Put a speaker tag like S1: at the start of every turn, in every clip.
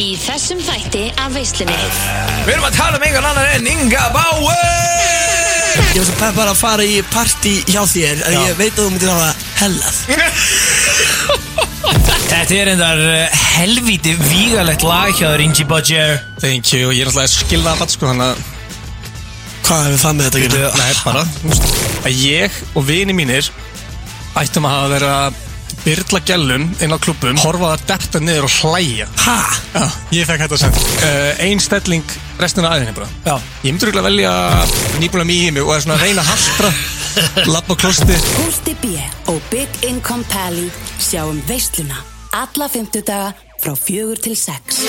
S1: í þessum þætti af veislunni
S2: Við erum að tala um einhvern annan en Inga Bauer
S3: Ég var svo peppar að fara í partí hjá þér En ég veit að þú myndir hafa hellað
S4: Þetta er endar helvíti vígalegt lag hjá þér Ingi Bodger
S2: Thank you, ég er alltaf að skilna það sko Þannig að
S3: Hvað hefur það með þetta að gera?
S2: Nei, bara þú veist, Að ég og vini mínir Ættum að hafa verið að Byrla gælum inn á klubbum Horfa það detta niður og hlæja
S3: Ha?
S2: Já, ég fekk þetta sent uh, Ein stelling restina af aðinni bara
S4: Já.
S2: Ég myndi rúglega velja nýbúlega mýið mig Og er svona að reyna að haltra Lapp á klosti
S5: Pústi B og Big Income Pally sjáum veisluna alla fymtudaga frá fjögur til sex.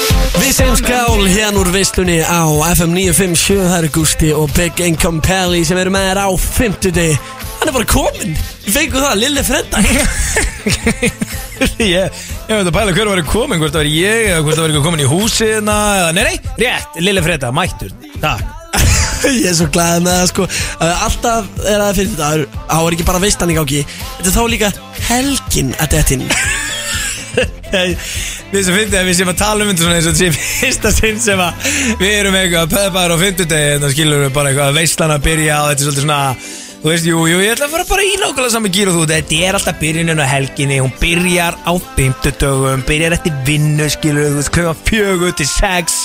S3: Við segjum skál hérna úr veislunni á FM 957 Það eru Gusti og Big Income Pally sem eru með þér á 50 Hann er bara kominn Við fengum það, Lille Fredda
S4: Ég, ég veit að pæla hver var komin, hvort það var ég eða hvort það var eitthvað komin í húsina eða, Nei, nei, rétt, Lille Freda, mættur Takk
S3: Ég er svo glæðið með það sko Uh, Alltaf er það fyrir þetta Á er ekki bara veislan í gangi Þetta er þá líka helgin að þetta inn
S4: Þið sem finnst að við séum að tala um þetta svona eins og þetta sé fyrsta sinn sem að við erum eitthvað pöðbæður á fimmtudegi en það skilur við bara eitthvað að veislan að byrja og þetta er svolítið svona Þú veist, jú, jú, ég ætla að fara bara í nákvæmlega saman gýr og þú Þetta er alltaf byrjunin á helginni, hún byrjar á fimmtudögum, byrjar eftir vinnu, skilur við, þú veist, klukkan fjögur til sex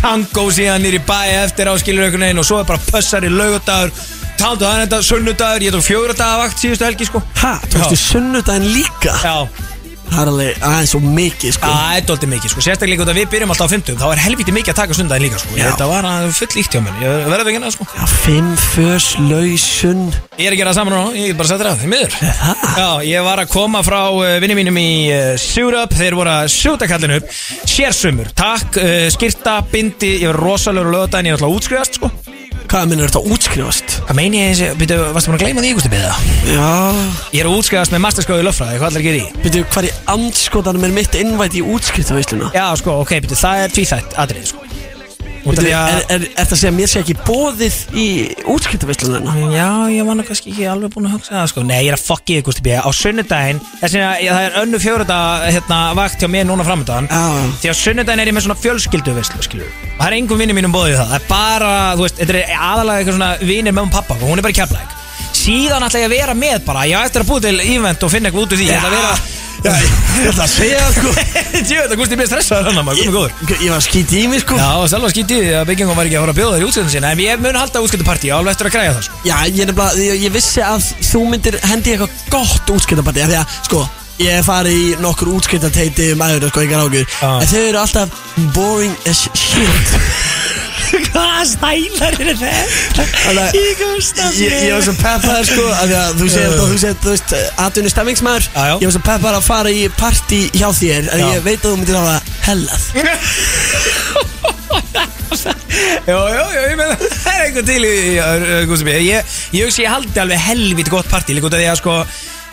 S4: Tango síðan nýri bæ eftir á skilur einhvern veginn og svo er bara pössar í laugardagur Taldu þannig þetta sunnudagur, ég tók fjögur dagar vakt síðustu helgi, sko
S3: Ha? Tókstu sunnudaginn líka?
S4: Já,
S3: Það er alveg aðeins og mikið sko
S4: Það er doldið mikið, sko, sérstaklega út að við byrjum alltaf á 50 Þá er helviti mikið að taka sundaginn líka, sko
S3: Já.
S4: Þetta var að full íkt hjá mér, ég verði ekki hérna, sko
S3: Já, Fimm fös, lausun
S4: Ég er að gera það saman núna, ég get bara sagt þér að, því miður Já, ég var að koma frá uh, vinni mínum í uh, Sjúrup Þeir voru að sjúta kallinu upp Sérsumur, takk, uh, skyrta, bindi Ég var rosalegur á lögðaðin, ég er alltaf að útskrifast, sko
S3: Hvað minnur þetta að útskrifast?
S4: Hvað meini ég þessi, byrju, varstu búin að gleyma því, Gusti, byrju, það?
S3: Já
S4: Ég er að útskrifast með masterskóði í löffræði, hvað ætlarðu að gera í?
S3: Veitu hvað er andskotanum er mitt innvætt í útskriftavísluna?
S4: Já, sko, ok, byrju, það er tvíþætt atrið, sko. Út af
S3: Veitu,
S4: því að-
S3: er, er, er það að segja að mér sé ekki bóðið í hérna? útskriftavísluna?
S4: Já, ég var nú kannski ekki alveg búin að hugsa það sko Nei, ég er að fokki ykkur stupið Á sunnudaginn, þess vegna ég- það er önnu fjóruða hérna, vakt hjá mér núna framöndan
S3: Já.
S4: Því á sunnudaginn er ég með svona fjölskyldu veislu, skilur Og það er engum vinnum mínum bóðið það Það er bara, þú veist, þetta er aðalega eitthvað svona vinnir með um pappa og Hún er bara kjaflæk Síðan ætla ég að vera með bara Ég á eftir að búið til event og finna eitthvað út úr því Ég ætla að vera
S3: ég ætla að segja það sko
S4: Ég veit að Gústi mér stressaður hann maður, guð minn góður
S3: Ég, ég var að skýti í mig sko Já,
S4: Já, og selva skítið því að byggingum var ekki að fara að bjóða þér í útskriftin sinna En ég mun halda útskriftapartí, ég á alveg eftir að græja það sko
S3: ég, nefnilega, ég, ég vissi að þú myndir hendi í eitthvað gott útskriftabandi Því að sko, ég hef farið í nokkur útskriftateiti um aður sko, engar ágjur
S4: Já.
S3: En þau eru alltaf boring as shit
S4: Hvaða stælar eru þetta?
S3: Þannig að- Ég, ég var svo peppar sko af því að Þú segir þú, segir, þú veist Atvinni stemmingsmaður
S4: Já, já.
S3: Ég var svo peppar að fara í partí hjá þér En
S4: Já.
S3: ég veit að þú myndir hafa hellað
S4: Jó, jó, jó, ég meina Það er einhver til í Gúsabí Ég, ég hugsi ég haldi alveg helviti gott partí Líka út af því að sko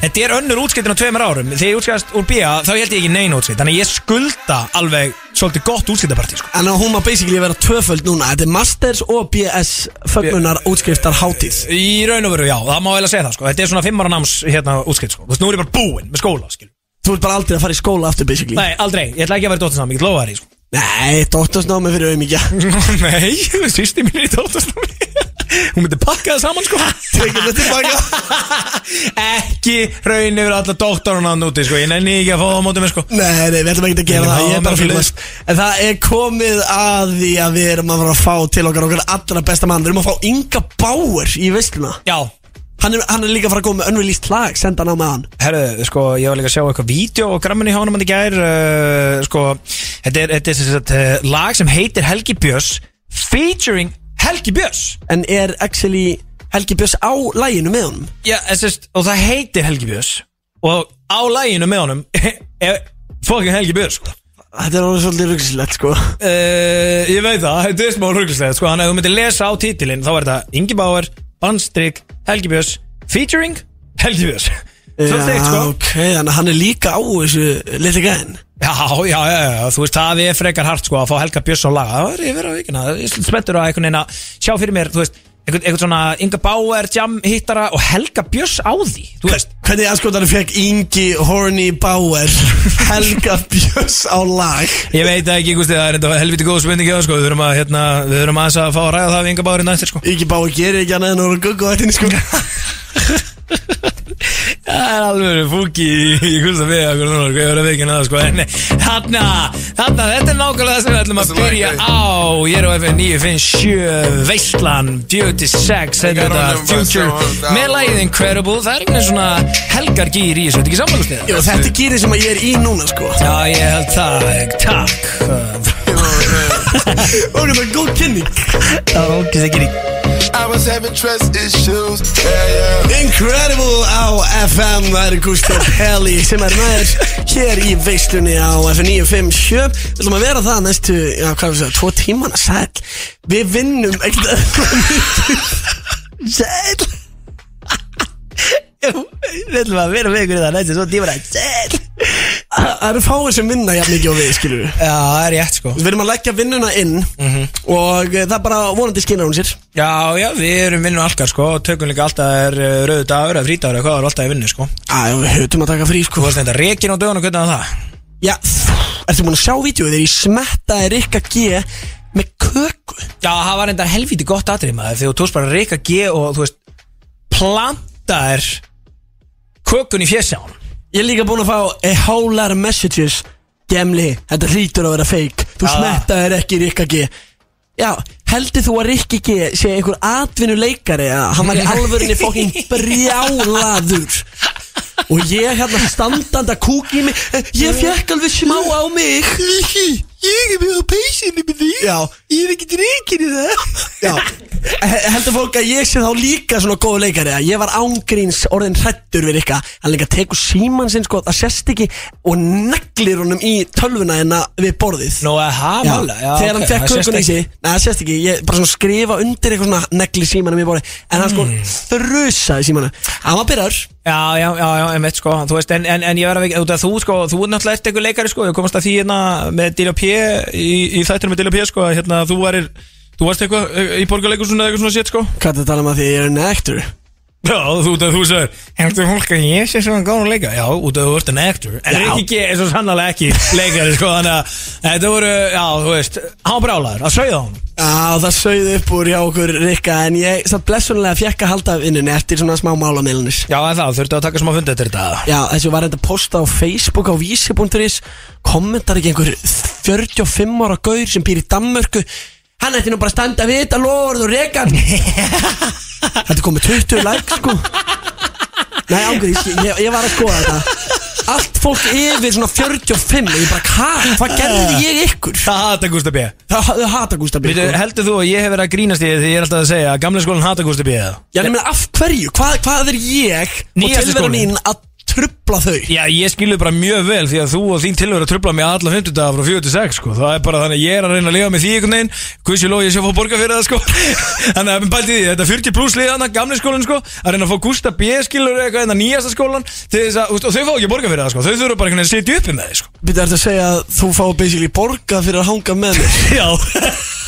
S4: Þetta er önnur útskiptin á tveimur árum Þegar ég útskiptast úr bíja þá held ég ekki neina útskipt Þannig að ég skulda alveg svolítið gott útskiptapartí sko.
S3: En hún má basically vera tvöföld núna Þetta er Masters og BS Fögnunar útskriftar hátíð
S4: Í raun og veru, já, það má vel að segja það sko. Þetta er svona fimmara náms hérna, útskipt sko. Þú veist, nú er ég bara búinn með skóla skil.
S3: Þú ert bara aldrei að fara í skóla aftur basically
S4: Nei, aldrei, ég ætla ekki að vera í dóttarsnámi, ég get lofa þér í sko.
S3: Nei doktorsnámi fyrir auðmíkja
S4: Nei, sýsti mín er í dóttarsnámi Hún myndi pakka það saman sko
S3: Tekur þetta tilbaka
S4: ekki raun yfir alla doktorun hann úti sko. ég nenni ekki að fá það á móti mér sko.
S3: Nei, nei, við ætlum ekki að gera
S4: Nei,
S3: það, ég
S4: það var
S3: er bara
S4: bara
S3: fyrir
S4: svoleiðis.
S3: En það er komið að því að við erum að fara að fá til okkar okkar allra besta mann Við erum að fá Inga Bauer í veisluna
S4: já,
S3: Hann er, hann er líka að fara að koma með önnvilíst lag, senda hann á með hann
S4: herru, sko, ég var líka að sjá eitthvað vídeo og grammin í hánum hann í gær uh, sko, þetta er, þetta er sem sagt, uh, lag sem heitir Helgi Björns featuring Helgi Björns
S3: En er actually Helgi Björns á læginu með honum?
S4: já, sest, og það heitir Helgi Björns og á læginu með honum er fokkin Helgi Björns sko.
S3: Þetta er alveg svolítið ruggislegt sko
S4: uh, ég veit það, þetta er smá ruglislega sko, hann að þú myndir lesa á títilinn þá er þetta Ingi Bauer, Bandstrik, Helgi Björns featuring Helgi Björns svo stegt sko
S3: ok, þannig að hann er líka á þessu litli gæðin
S4: já, já, já, já, þú veist, það er frekar hart sko að fá Helga Björns á laga, það er ég verið á vikina ég er svolítið spenntur á einhvern veginn að sjá fyrir mér, þú veist einhvern, einhvern svona Inga Bauer, Jam, hittara og Helga Björns á því þú veist,
S3: Hvernig anskotanum fekk Ingi Horny Bauer Helga Björns á lag
S4: ég veit það ekki, Gústi, það er enda helviti góð spurning hjá þér, sko, við þurfum að, hérna, við þurfum aðeins að fá að ræða það við Inga Bauer í nættir, sko
S3: Ingi Bauer gerir ekki annað en orða gugg og þetta sko
S4: Það er alveg fúki í Gústa við okkur núna, sko, ég verið að veikina það, sko en þarna, þarna, þetta er nákvæmlega það sem við ætlum að
S6: Þessi
S4: byrja
S6: lækka
S4: á ég er á FN 957 Veislan, Beauty Sex, þetta er um
S6: Got
S4: þetta
S6: on them, but
S4: Future
S6: so-
S4: með lagið Incredible, það er einhvern veginn svona helgar gýr í þessu, þetta ekki samanlustið
S3: Jó, þetta er gýrið sem að ég er í núna sko
S4: Já, ég held það, takk
S6: You know
S3: Og
S6: what I'm saying?
S3: þetta er góð kynning
S4: Það var ógæst ekki rík
S6: I was having trust issues. Yeah, yeah.
S3: Incredible á FM, það eru Gustaf Heli sem er með þér hér í veislunni á FM 957 Við ætlum að vera það næstu, já hvað er það, tvo tímana, sæl Við vinnum ekkert öðrum mikið. Sæl Jú, Við ætlum að vera með ykkur í það næstu, svo tímana, sæl Það það eru fáir sem vinna jafn mikið og við, skilur við
S4: Já, það er rétt, sko
S3: Við erum að leggja vinnuna inn
S4: Mhm.
S3: og eh, það er bara vonandi skinar hún sér
S4: Já, já, við erum vinnu allkar, sko og tökum líka alltaf er eh, rauður dagur eða frítagur eða hvað er alltaf í vinnu, sko
S3: Æ, við höfum að taka frí, sko
S4: Þú varst þetta rekin á dögunum, hvernig var það?
S3: Já, ertu búin að sjá vídeo þegar ég smettaði Rikka G með köku
S4: Já, það var enda helvíti gott atrið maður þegar þú tókst bara Rika G og þú veist plantar kökun í fjesján
S3: Ég er líka búin að fá a whole lot of messages Gemli, þetta hlýtur að vera fake Þú
S4: Ah.
S3: smettaðir ekki Rikka G Já, heldur þú að Rikki G sé einhver atvinnuleikari að hann var í alvörinni fokkin brjálaður og ég hérna standanda kúk í mig eh, ég fekk alveg smá á mig Rikki, ég er mjög á peysinni með því Já, ég er ekki reikin í það Já, he- heldur fólk að ég sé þá líka svona góð leikari að ég var ángríns orðin hrættur við Rikka hann líka tekur síman sinn sko, það sést ekki og neglir honum í tölvuna hérna við borðið
S4: Nú, það
S3: Já,
S4: mála já, ok,
S3: þegar hann fekk
S4: það sést
S3: kökun í
S4: ekki.
S3: sig Nei, það sést ekki, ég bara svona skrifa undir eitthvað svona negli símanum í bóri En hann sko
S4: Hmm.
S3: þrusaði símanum Hann var byrjar,
S4: Já, já, já, já, einmitt sko Þú veist, en, en, en ég verð að veikja, þú sko Þú er náttúrulega ert einhver leikari sko Ég komast að því hérna með DLP Í, í þættinu með DLP sko að, Hérna, þú varir Þú varst eitthvað eh, í borgarleikursunni eða eitthvað svona shit sko
S3: hvað er að tala um að því ég er nektur
S4: Já, þú út að þú sagður Heldur fólk að ég sé svona góðan leika Já, út að þú ert en actor En
S3: Já.
S4: Rikki G er svo sannlega ekki leikari sko Þannig að þetta voru, já, þú veist Hán brálaður, að sögða hún
S3: Já, það sögði upp úr hjá okkur Rikka En ég satt blessunlega fjekk að halda af innunni Eftir svona smá málamilnis
S4: Já, en það, þurftu að taka smá fundið eftir þetta
S3: Já, þessu var þetta posta á Facebook á vísi.is Kommentar ekki einhver 45 ára gaur sem býr í Danmörku Hann ætti nú bara að standa við þetta lofurð og reka hann. Þetta kom með 20 like sko Nei, ángurís, ég, ég, ég var að skoða þetta Allt fólk yfir svona 45 Ég bara, hvað, hvað gerði ég ykkur?
S4: Það hata Gústa B
S3: Það þau hata Gústa B
S4: Veitu,
S3: sko.
S4: Heldur þú að ég hef verið að grínast í því Því ég er alltaf að segja að gamla skólan hata Gústa B eða?
S3: Já, nema af hverju? Hvað, hvað er ég og
S4: Nýjasti
S3: tilvera
S4: skólinn.
S3: mín að trubla þau?
S4: Já, ég skilu bara mjög vel því að þú og þín tilhör að trubla mig alla 50 daga frá 46 sko. Það er bara þannig að ég er að reyna að lifa með því einhvern veginn Hversu lóð ég sé að fá borga fyrir það sko. Þannig að bæti því, þetta er 40 pluss lið hann Gamli skólan sko, að reyna að fá Gústa B skilur eitthvað en að nýjasta skólan til þess að, Og þau fá ekki borga fyrir það sko. Þau þurfa bara einhvern veginn að sitja uppi með því sko.
S3: Býttu ertu að segja að þú fá basically borga fyrir að hanga með mér
S4: Já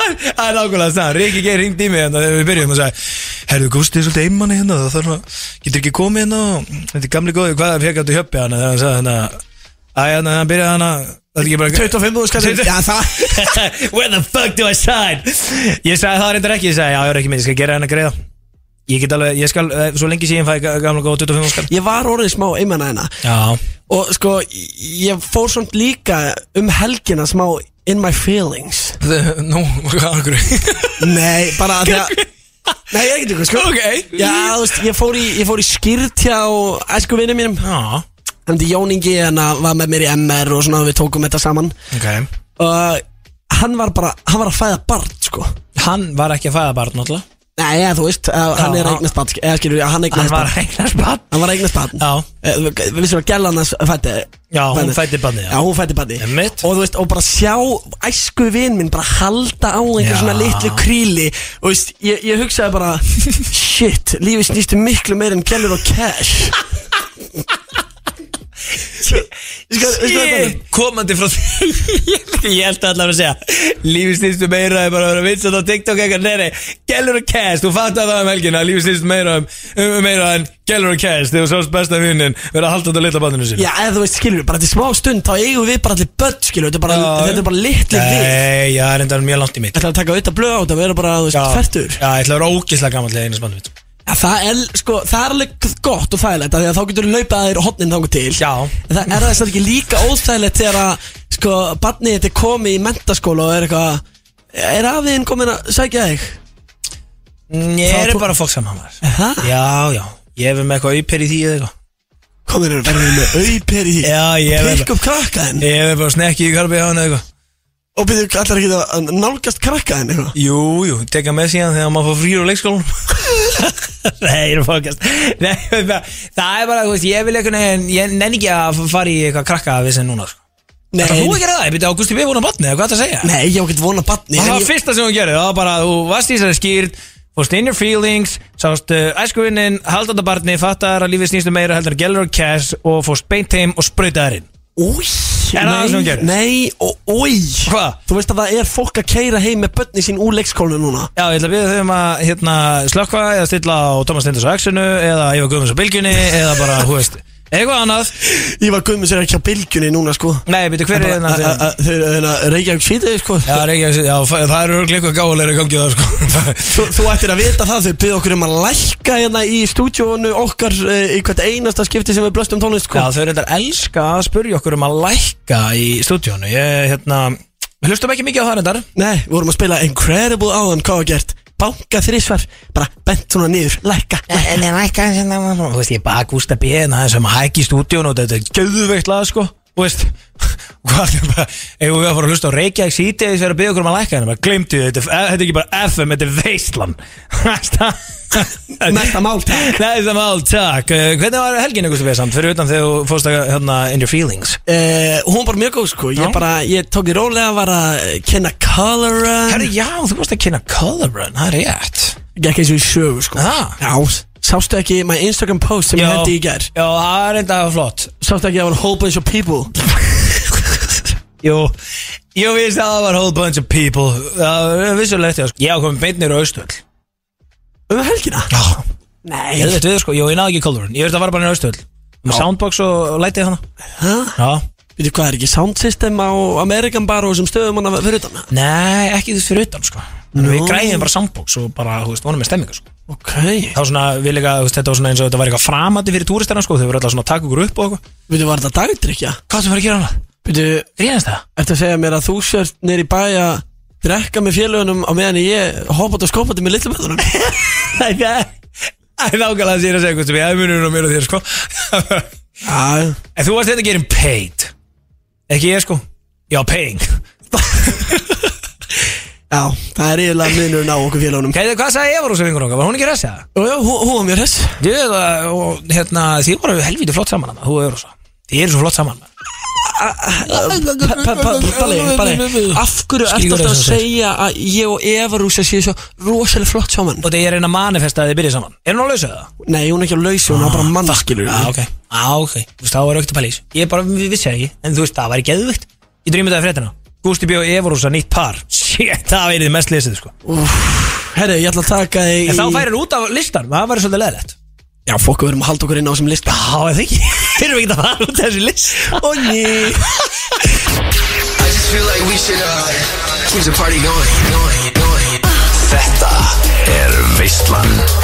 S4: Það er nákvæmlega það Riki Geir ringdi í mig hérna þegar við byrjum og sagði Herðu Gústi er svolítið einmanni hérna það þarf að getur ekki komið hérna og þetta er gamli góði hvað það fekk áttu hjöppi hana þegar hann sagði hana Æ, hérna, hann byrjaði hana Það er ekki bara
S3: 25 þú skallir Já það
S4: Where the fuck do I sign? Ég sagði það reyndar ekki, ég sagði já, ég er ekki minn, ég skal gera henni greiða Ég get alveg, ég skal, eh, svo lengi síðan fæ ég ga- gamla góða 25 skall
S3: Ég var orðið smá einmann hérna
S4: Já,
S3: Og sko Ég fór samt líka um helgina smá In my feelings
S4: nú, hvað okkur
S3: Nei bara að því að Nei ég er ekki ykkur sko
S4: Ok
S3: Já þú veist Ég fór í, ég fór í skýrt hjá Æsku vinni mínum
S4: Já,
S3: Hann til Jóningi Hann var með mér í MR Og svona við tókum þetta saman
S4: ok
S3: Og hann var bara Hann var að fæða barn sko
S4: Hann var ekki að fæða barn náttúrulega
S3: Nei ja, þú veist eh, Hann
S4: Já,
S3: er
S4: já.
S3: eignast barn sk- Eða skilur Hann
S4: Hann
S3: eignast
S4: var
S3: barn
S4: að eignast barn
S3: Hann var eignast barn
S4: Já
S3: Eh, Við við vissum að gælan hans fætti
S4: Já, hún fæddi barnið, já.
S3: Já, hún fætti barnið
S4: Einmitt.
S3: Og þú veist, og bara sjá æsku vin minn bara halda á einhver
S4: Já.
S3: svona litlu kríli Og veist, ég, ég hugsaði bara Shit, lífið snýstu miklu meir en gælur og cash veistu hvað ég tala um?
S4: Shit, komandi frá því Ég held að allavega að segja Lífi snýstu meira er bara að vera vinsat á TikTok eitthvað Nei, nei, Gellur og Cast Þú fattar það um helgina Lífi snýstu meira um, um meira en Gellur og Cast Þegar sást besta vinnin vera haldandi á litla bandinu sín
S3: Já, eða þú veist, skilur við, bara til smá stund þá eigum við bara allir börn, skilur við, þetta er bara,
S4: Já,
S3: þetta er bara litli við
S4: Nei, já, það er enda mjög langt í mitt
S3: Þetta er að taka auðvitað blöð á þetta, við erum bara, þú veist, færtur
S4: Já, ég ætla að vera ógislega gammal Þegar einu spannu mitt
S3: ja, það, er, sko, það er alveg gott og þægilegt af því að þá getur við laupað að þér hotnin þangu til
S4: Já.
S3: En það er þess að ekki líka óþægilegt þegar að, sko, barnið þetta er komið í mentaskóla og er eitthvað Er afiðin komin að sækja þig?
S4: Ég
S3: Þá
S4: er
S3: þú-
S4: bara fólk saman maður.
S3: Ha?
S4: Já, já, ég hefur með eitthvað auper í því eða eitthvað
S3: Komin að verðum við með auper í því
S4: Já, ég
S3: Og
S4: verð-
S3: Pikk upp krakkaðin
S4: Ég hefur bara snekkið í karbi á hann eða eitthvað
S3: Og byrjuðu allar ekki að nálgast krakkaðin eitthvað
S4: Jú, jú, teka með síðan þegar maður fór frýr á leikskólanum Nei, ég er að fókast Nei, ég veit það, það er bara, þú veist, ég vil einhvern veginn Ég nenni ekki að fara í eitthvað krakka við sem núna sko.
S3: Nei,
S4: Það þú ekki að það, ég byrja Ágústi við vorum að batni, hvað er það að segja?
S3: nei, ég á ekkert vona barni
S4: það
S3: en
S4: var
S3: ég-
S4: fyrsta sem hún gerði, það var bara Þú varst í þessari skýrð, fórst in your feelings Sást uh, æskuvinnin, haldandi barni Fattar að lífið snýstu meira heldur en gælur og cash Og fórst beint heim og sprautaðarinn
S3: Új,
S4: Er það það sem hún gerir?
S3: Nei, og új
S4: Hvað?
S3: Þú veist að það er fólk að keira heim með börni sín úr leikskólu núna
S4: Já, ég ætla að byrja þau um að hérna, slökva eða stilla á Thomas Stenders á X-inu eða Ívar Guðmunds á Bilgjunni eða bara, hú veist, eitthvað annað
S3: Ég var guðmur sér ekki á bylgjunni núna sko
S4: Nei, byrju, hver er hérna?
S3: A- a- a- Þeir eru reykjaðu sýtið sko
S4: Já, Reykjavík, já, fa- það eru örglega eitthvað gáðulega í gangi það, sko
S3: Þú, þú ættir að vita það, þau byrðu okkur um að lækka hérna í stúdíónu okkar e, í hvert einasta skipti sem við blöstum tónlist
S4: Já,
S3: sko
S4: þau reyndar elska að spurja okkur um að lækka í stúdíónu Ég, hérna, við hlustum ekki mikið á það reyndar
S3: Nei, við vorum að spila Incredible áðan, hvað var gert? Banka þrísvar, bara bent svona niður, lækka
S4: En ég lækka eins og það Þú veist, ég er bara Gústa B en það er sem að hækki í stúdíónu og þetta er gauðveikt lag, sko Þú veist, hvað er bara Ef við að fara að hlusta á Reykjavík síti þegar að byggja okkur um að lækka hérna, bara glemdu þetta er- Þetta er ekki bara FM, þetta er veistlan
S3: Næsta mál, takk.
S4: Næsta mál, takk Eh, Hvernig var helgin, Gústa B, samt, fyrir utan þegar þú fórst að, hérna, in your feelings
S3: Uh, hún var bara mjög góð sko, ég
S4: Já.
S3: bara, ég tók í rólega, var að eh, kenna color
S4: Herri, já, þú varst að kynna Color Run, það er rétt
S3: Gekk eins og í sögu sko
S4: Ah.
S3: Já Sástu ekki my Instagram post sem ég hendi í gær
S4: já, það er enda flott
S3: Sástu ekki að það var a whole bunch of people
S4: Jú, jú, við veist að það var whole bunch of people Það var vissulegt, já, sko Ég ákomið beintnir á Austöld
S3: Um helgina?
S4: Já,
S3: Nei
S4: ég veit við, sko, jú, ég náði ekki Color Run Ég veist að fara bara nýra Austöld Með soundbox og lætið hana
S3: Hæ?
S4: Já
S3: Veitu hvað er ekki sound system á Amerikan bar og sem stöðum hann að fyrir utan
S4: Nei, ekki þess fyrir utan, sko En
S3: Nú.
S4: Við græðum bara soundbox og bara, þú veist, vonum með stemmingu, sko
S3: Ok
S4: Það var svona, við líka, þú veist, þetta var svona eins og þetta var eitthvað framandi fyrir túristarna, sko Þau voru alltaf svona að taka okkur upp og eitthvað
S3: Veitu var þetta dagdrykja?
S4: Hvað þú fyrir að gera hana?
S3: Veitu,
S4: Gríðast það?
S3: ertu að segja mér að þú sért nýri bæ að drekka með félögunum á meðan ég hoppaði og skópaði með litlu bæðunum
S4: Nei, það Það er nákvæmlega að sér að segja hvað sem ég aðmunur á mér og þér sko En
S3: Já
S4: þú varst þetta getting paid Ekki ég sko Já, paying
S3: Já, það er eiginlega minnurinn á okkur félögunum
S4: Hvað, hvað sagði Eva Rósa vingur okkar? Var hún ekki ressa?
S3: Og já, hún, hún var mjög hress
S4: Þú, það- og, hérna, þið voru helviti flott saman hana, Þú og Eva Rósa Þið eru svo flott saman maður.
S3: Pa- pa- pa- Palli, Palli, af hverju ertu
S4: Skilur
S3: alltaf að
S4: þessum sér.
S3: segja að ég og Eva Rúsa séu svo rosalega flott saman?
S4: Og þetta er eina manifesta að þið byrja saman Er hún að lausa það?
S3: Nei, hún er ekki að lausa, hún er bara mann skilur
S4: Já, ok Já, ok Þú veist, þá var aukt að pælís Ég bara við vissi það ekki En þú veist, það væri geðvögt Ég drýmið það fréttina Gústi B. og Eva Rósa, nýtt par Shit, það verið mest lesið sko
S3: Herri, ég ætla að taka þig
S4: En þá
S3: í-
S4: færir út af listan, það væri svolítið leðilegt
S3: Já, fokk, við erum að halda okkur inn á þessum lista
S4: Já, eða ekki, þeir eru ekki að fara út af þessu list
S3: Ó, ný
S7: I just feel like we should uh, keep the party going, going, going. Þetta er Veistland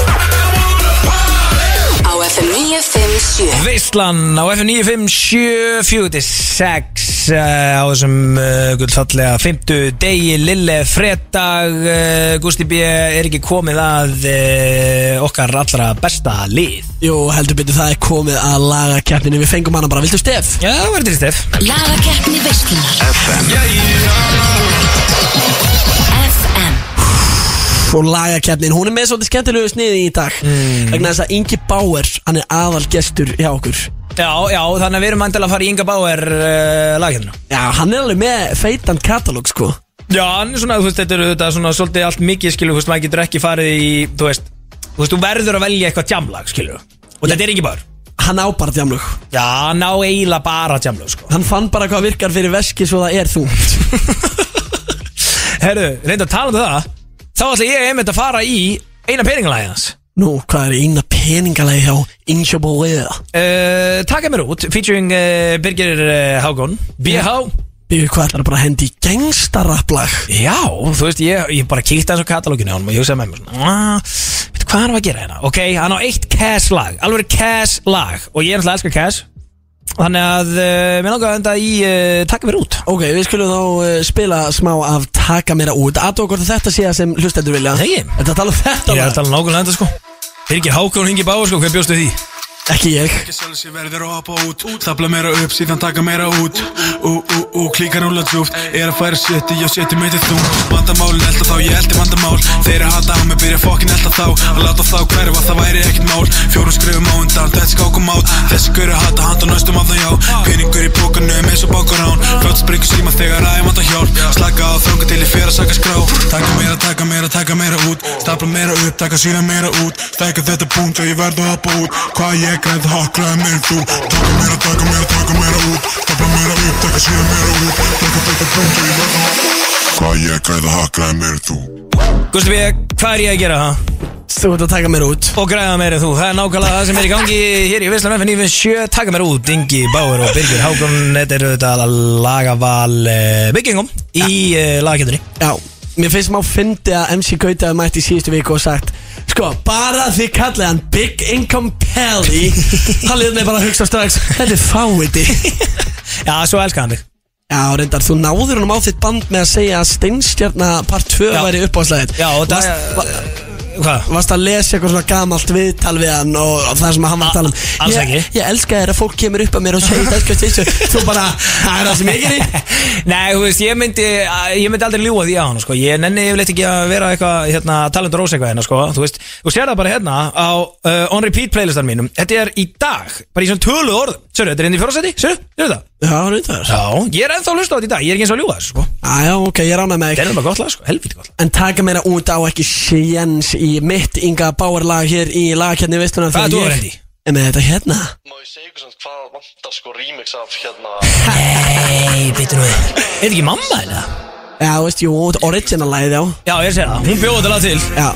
S5: Á FM 957
S4: Veistlan á F957 46 uh, á þessum uh, gullfallega 50 degi, lille, fredag uh, Gusti B. er ekki komið að uh, okkar allra besta lið
S3: Jú, heldur betur það er komið að laga keppninu Við fengum hana bara, viltu stef?
S4: Já, það var til stef
S1: Lagakeppni veislunar FM
S3: Og laga keppnin, hún er með svolítið skemmtilegu sniði í dag Vegna þess að Ingi Bauer, hann er aðal gestur hjá okkur
S4: Já, já, þannig að við erum andala að fara í Inga Bauer uh, lagjarnu
S3: Já, hann er alveg með feitan katalóg, sko
S4: Já, hann er svona, þú veist, þetta er þetta svona svolítið allt mikið, skilur, þú veist, maður getur ekki farið í, þú veist, þú veist, þú verður að velja eitthvað tjamlag, skilur, og þetta er ekki bara,
S3: hann á bara djamlug
S4: Já, ná eiginlega bara tjamlu sko.
S3: Hann fann bara hvað virkar fyrir veski svo það er þú
S4: Herru, reynda að tala um það Þá ætla ég einmitt að fara í eina peningalæði hans
S3: Nú, hvað er eina peningalegi hjá Ingeborg
S4: uh, Taka mér út, featuring uh, Birgir uh, Hákon BH
S3: Bíðu hvað ætlar bara að hendi í gangstarapplag
S4: Já, þú veist, ég, ég bara kíkti hans á katalóginu á honum og ég hugsaði með mér svona "Ah, Veitu hvað hann var að gera hérna? Ok, hann á eitt Cass lag, alveg Cass lag Og ég er náttúrulega elskar Cass Þannig að uh, mér langar að enda í uh, Takka mér út
S3: Ok, við skulum þá uh, spila smá af Taka mér út Aðdók hvort þetta sé að sem hlustendur vilja
S4: Nei.
S3: Þetta tala um
S4: Ég
S3: þetta
S4: er
S3: bara
S4: að tala nákvæmlega enda sko Birgir Hákon hingi báður sko, hver bjóstu því?
S3: Ekki ég
S8: Ekki sjálf sér verður að hoppa út Tafla meira upp, síðan taka meira út Ú, ú, ú, klíkar rúla djúft Er að færa seti, já seti meiti þú Vandamálin elda þá, ég eldi vandamál Þeir að hata á mig, byrja fokkin elda þá Að láta þá hverfa, það væri ekkert mál Fjórum skrifum á undan, þetta skákum át Þessi gaur að hata, handa næstum af það já Peningur í bókanum, eins og bókarán Fljótt springur síma þegar að ég vanda hjálp Slaka á þröngu til ég fer að saka skrá Taka meira, taka meira, taka meira út Stapla meira upp, taka síðan meira út Stækja þetta punkt og ég verður að búa út Hvað ég græð haklaði meir þú Taka meira, taka meira, taka meira út Stapla meira upp, taka síðan meira út Stækja þetta punkt og ég verður að búa út Hvað ég græð haklaði meir þú
S4: Gusti B, hvað er ég að gera það?
S3: Þú ert að taka mér út
S4: Og græða meira þú, það er nákvæmlega það sem er í gangi hér í Visslan FN 97, taka mér út Ingi Báur og Birgir Hákon, þetta eru þetta lagaval uh, byggingum í uh, lagakjöndunni
S3: Já, mér finnst má fyndi að MC Gauti hafi mætt í síðustu viku og sagt Sko, bara því kallið hann Big Income Pelly Hann liðið mig bara að hugsa strax Þetta er fáiði
S4: Já, svo elska hann þig
S3: Já, reyndar, þú náður honum á þitt band með að segja að Steinstjarna part 2
S4: Já.
S3: væri uppáðslegið
S4: Já, og það
S3: Varst- va-
S4: Hvað?
S3: varst að lesa eitthvað svona gamalt viðtal við hann og, og það sem hann var að tala um
S4: alls
S3: Ég-
S4: ekki.
S3: Ég elska þér að fólk kemur upp að mér og segir þetta sko þessu Þú bara, það er það sem ég gerir
S4: Nei, þú veist, ég myndi, ég myndi aldrei ljúa því á hann, sko Ég nenni yfirleitt ekki að vera eitthvað, hérna, talendur ós eitthvað hérna, sko Þú veist, þú sér það bara hérna á uh, On Repeat playlistan mínum Þetta er í dag, bara í svona tölu orð Sörru, þetta er inn í fjórarsæti, sörru, sérðu það?
S3: Já, reyndar
S4: Já, ég er ennþá að hlusta á þetta í dag, ég er ekki eins og að ljúa þessu, sko
S3: Já, já, ok, ég rána með
S4: Þetta
S3: ekki
S4: er bara gott lag, sko, helviti gott lag
S3: En taka mér út á ekki séns í mitt Inga Bauer lag hér í lagkjarni veistunum
S4: Hvað er þú að reyndi?
S3: En með þetta hérna
S9: Má ég segja ykkur samt hvað vantar sko remix af hérna
S4: Nei, bitur nú við Er þetta ekki mamma hérna?
S3: Já, þú veist, jú, original lagið, já
S4: Já, ég sé það, hún bjóði þetta lag til
S3: Já,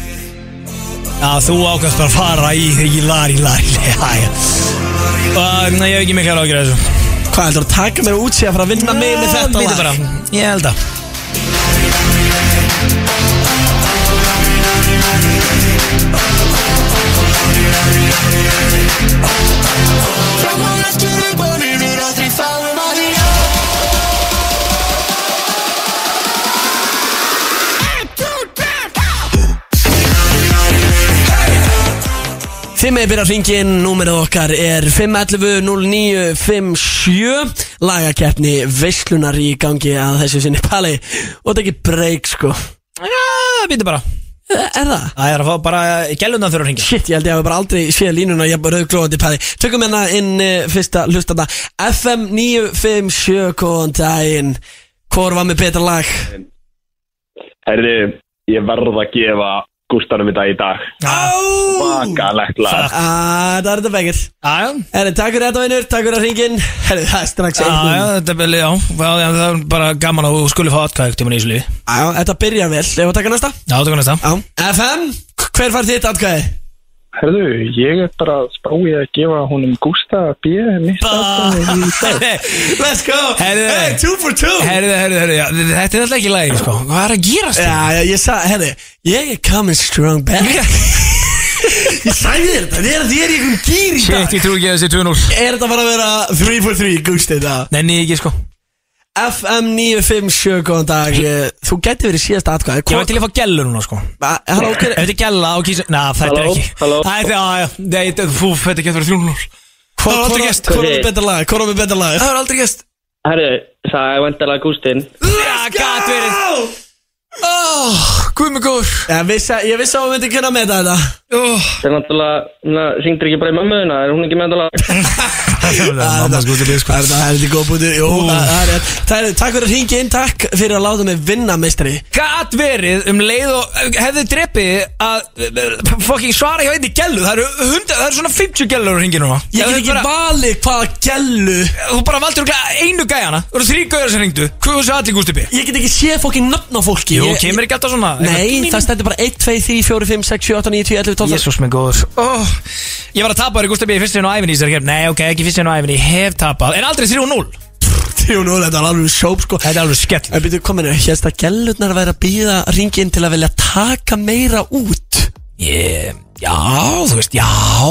S4: Já, þú ákvæmst bara að fara í þig í lari, lari, lari Nei, ég hef ekki mikla ráðgjur þessu
S3: hvað heldur að taka mér út sér að fara að vinna mig með þetta
S4: Býtu
S3: lag
S4: bara, ég held að
S3: Þið meði byrja að ringi inn, númerið okkar er 511-0957 Lagakeppni veislunar í gangi að þessu sinni pali Og þetta er ekki breyk sko E,
S4: Já, býtu bara
S3: Er það?
S4: Það er að fá bara gælundan þurfa að ringja
S3: Shit, ég held ég hafi bara aldrei séð línuna Ég er bara auðglóðandi pæði Tökum hérna inn uh, fyrsta hlustanda FM 957, góðan daginn Hvor var með betra lag?
S9: Herri, ég verð að gefa Gústanum þetta í dag Bakalegt lag
S3: Ah, það er þetta begir
S4: Já,
S3: Herri, takk fyrir þetta vinur, takk fyrir að ringin Herri, það er strax
S4: já, Ah, já,
S3: einn
S4: þetta er vel, já Já, já, Það er bara gaman að þú skulle fá atkvæði tíma í þessu lífi Já,
S3: Já, þetta byrjar vel, ef að taka næsta
S4: þetta er næsta
S3: Já. FM, hver fær þitt atkvæði?
S9: Herðu, ég er bara spáið að gefa honum Gústa B. mitt aðstæðan í dag
S3: Let's go
S4: Herri,
S3: hey, Two for two
S4: Herðu, herðu, herðu, já, þetta er alltaf ekki lægin, sko Hvað er að gerast þetta?
S3: Já, já, ég sa, herri, ég er coming strong back Ég sagði þér þetta, þér, þér er í einhverjum gýr í dag
S4: Shit, ég trú ekki að þessi 2-0
S3: Er þetta bara að vera 3 for 3 gúst þetta?
S4: Nenni ég ekki, sko
S3: FM 957, góðan dag eh, Þú gæti verið síðasta atkvæði
S4: Ég var til að fá gælu núna, sko Ef
S3: að Halló, hver
S4: þetta er gæla og kísa Ná, þetta er
S9: Halló,
S4: ekki
S9: halló.
S4: Æ, þetta- já, já, Nei, þetta- fú, þetta getur verið 3-0
S3: Hvað
S4: var aldrei gest.
S3: Hvað er betra lag? Hvað er betra lag?
S4: Það er aldrei gæst
S10: Herru, það er vandalega Gústin
S4: Já, gæt verið Oh, guð mig góður
S3: Ég vissi, að- ég vissi að hún myndi kunna meta þetta
S4: oh.
S10: Það er náttúrulega, na, syngdur ekki bara í mömmuðina Er hún ekki með þetta lag?
S4: Mamma sko til biskvöld
S3: Það er það, það er þetta góð bútur Jú,
S4: Úff.
S3: það það er rétt Það er- Takk fyrir að ringa inn, takk fyrir að láta mig vinna, meistari
S4: Gat verið um leið og hefði drepið að eh, fucking svara hjá einni gellu Það eru, 100, það eru svona 50 gellur að ringi núna
S3: Ég
S4: Ef
S3: get
S4: þú
S3: ekki
S4: bara-
S3: valið hvaða gellu
S4: Þú bara valdur örugglega einu gæjana Það eru þrý gæjar sem ringdu Hvað var þessi aðtík úr stipi?
S3: Ég get ekki séð fólki nöfn á fólki
S4: Jú,
S3: Ég-
S4: kemur ekki alltaf svona
S3: Nei, það stendur bara 1, 2, 3, 4, 5, 6, 7, 8, 9, 10, 11, 12
S4: Jésús minn góður oh, Ég var að tapa þér í Gústabi í fyrstinu á æfinni í þessari kemd Nei, ok, ekki fyrstinu á æfinni, ég hef tapað En aldrei 3-0
S3: Jú, nú, þetta er alveg sjóp, sko
S4: Þetta er alveg skell
S3: En byrju, kominu, hérst að gellurnar væri að býða ringin til að vilja taka meira út
S4: yeah. Já, þú veist, já,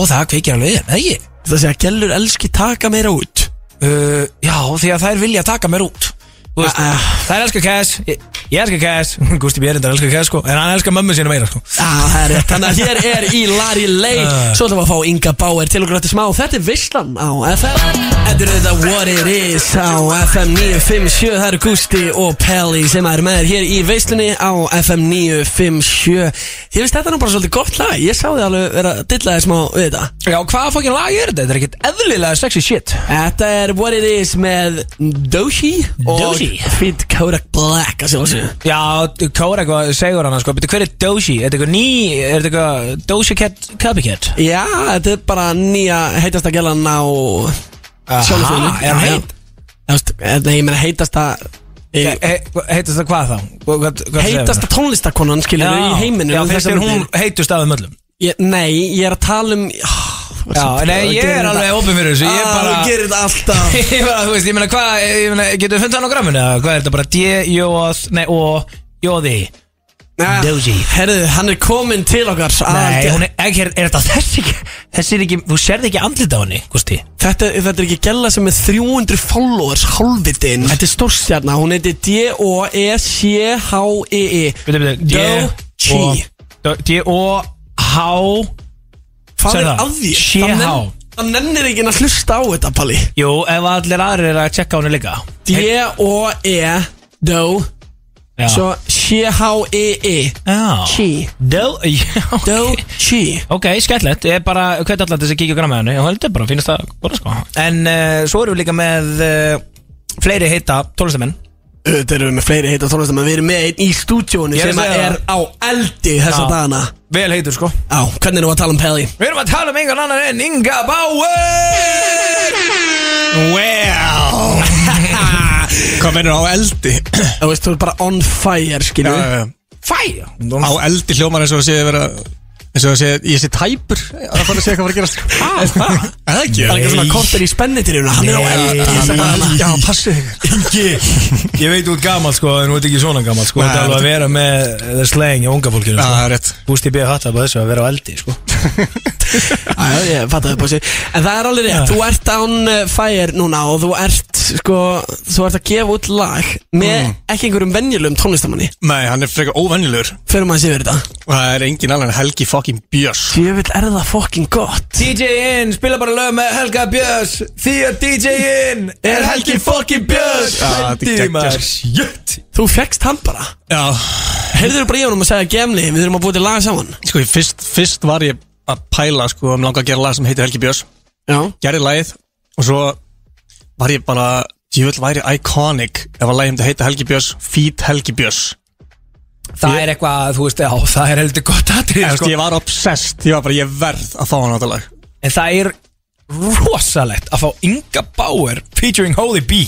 S4: það kveikir alveg í þeim, eða ekki?
S3: Það sé að gellur elski taka meira út
S4: Uh, já, því að þær vilja taka mér út Þú veist,
S3: Ah, ah.
S4: Þær elskar Cass Ég, ég elskar Cass, Gústi Björndar elskar Cass sko, En hann elskar mömmu sína meira sko.
S3: Já, það er rétt Þannig að hér er í Larry Lay Svo ætlum við að fá Inga Bauer til okkur eftir smá Þetta er Visslan á FM Þetta er auðvitað What It Is á FM 957 Það eru Gusti og Pelli sem er með þér hér í Visslunni á FM 957 Ég veist þetta er nú bara svolítið gott lag Ég sá þið alveg vera að dilla þér smá við þetta
S4: Já, hvað fokkin lag er þetta? Þetta er ekkert eðlilega sexy shit
S3: Þetta er What It Is með Doshi og
S4: Doechii.
S3: Fit Kodak Black að sjálfsögðu
S4: Já, Kóra eitthvað segur hann sko, Býttu, hver er Doji? Er þetta eitthvað ný? Er þetta eitthvað Doji Cat Copycat?
S3: Já, þetta er bara nýja heitasta gælan á sjálfsögðu
S4: er hann heit?
S3: Nei, ég meina heitasta eh,
S4: He- he- Heitast það hvað þá? Hvað- hvað- hvað segir
S3: Heitasta
S4: það?
S3: tónlistakonan, skilur
S4: Já,
S3: í
S4: Já,
S3: heiminum um
S4: finnst
S3: þessar
S4: þér hún
S3: mundir.
S4: heitust af þeim öllum
S3: ég, Nei, ég er að tala um Já,
S4: Já, nei, ég er alveg opið fyrir þessu Ég er bara
S3: Þú gerir þetta alltaf
S4: Ég bara, þú veist, ég meina hvað, ég meina, getur við fundið hann á gramminu eða hvað er þetta bara D-J-O-S, nei, O-J-O-D
S3: Nei,
S4: Doji.
S3: Herðu, hann er kominn til okkar
S4: Nei,
S3: Aðal-
S4: hún er, ekki, er, er þetta þessi ekki, þessi er ekki, þú sérði ekki andlit á henni, Gusti
S3: Þetta, er- þetta er ekki gæla sem er 300 followers Hálfitinn Þetta er stórstjarna, hún heitir D-O-E-C-H-E-E
S4: Byrju, byrju,
S3: Doji.
S4: D-O- D-O-H
S3: Hvað
S4: Segðu
S3: er
S4: það.
S3: að því?
S4: Sé
S3: Það
S4: há.
S3: nenn- Það nennir ekki að hlusta á þetta, Palli
S4: Jú, ef allir aðrir er að tjekka á henni líka
S3: D-O-E Do
S4: Já.
S2: Ah.
S3: Svo C-H-E-E
S4: Já
S3: Chi
S4: Do, já,
S3: Do
S4: ok
S3: Chi
S4: Ok, skellett, ég er bara, hvernig allan þess að kíkja grann með henni, ég heldur bara, finnst það bara sko En uh, svo erum við líka með uh, fleiri heita tólestamenn
S3: Þetta erum við með fleiri heita tónlistamenn Við erum með einn í stúdíónu
S4: Ég er að
S3: sem að
S4: segja
S3: er á eldi þessa
S4: Já.
S3: dagana
S4: Vel heitur sko
S3: Á, hvernig erum við að tala um Pelli?
S4: Við erum að tala um einhvern annan en Inga Bauer Well
S2: Hvað mennur á eldi?
S3: Þú veist, þú er bara on fire, skilu
S4: Fæ
S2: Á eldi hljómar eins og það sé vera eins og það sé, ég sé tæpur að fara að segja hvað var að gerast Er Það ekki
S3: Ah. Það er ekki svona korter í spennitýrjuna Hann er á eldi þessa dagana
S2: Já, passu þig
S4: Ég veit út gammal sko en þú ert ekki svona gammal sko
S2: Nei,
S4: Þetta er alveg að
S2: þetta-
S4: vera með the slang í unga fólkinu
S2: Já,
S4: sko.
S2: það er rétt
S4: Búst ég beða hatt að þessu að vera á eldi sko
S3: Já, já, ég fattaði upp á sig En það er alveg rétt, þú ert on eh, fire núna og þú ert, sko, þú ert að gefa út lag með ekki einhverjum venjulegum tónlistamanni
S2: Nei, hann er frekar óvenjulegur
S3: Förum að séu þetta
S2: og það er engin annan en Helgi fucking Björs
S3: Djöfull er það fucking gott
S4: DJ-in, spila bara lög með Helga Björns Því að DJ-in er Helgi fucking Björns
S2: Já, Ah, þetta er geggjað.
S4: Jött
S3: Þú fekkst hann bara
S2: Já,
S3: Heyrður bara í honum að segja gemli Við þurfum að búið til lag saman
S2: sko, ég fyrst, fyrst var ég að pæla, sko, um langa að gera lag sem heitir Helgi Björs
S3: Já
S2: gerði lagið og svo var ég bara djúvel væri iconic ef að lagið myndi heita Helgi Björns feat Helgi Björns
S4: Það er eitthvað, þú veist, já, það er heldur gott atrið
S2: ég,
S4: sko.
S2: sko. ég var obsessed, ég var bara ég verð að fá hann á þetta lag
S4: En það er rosalegt að fá Inga Bauer featuring Holy B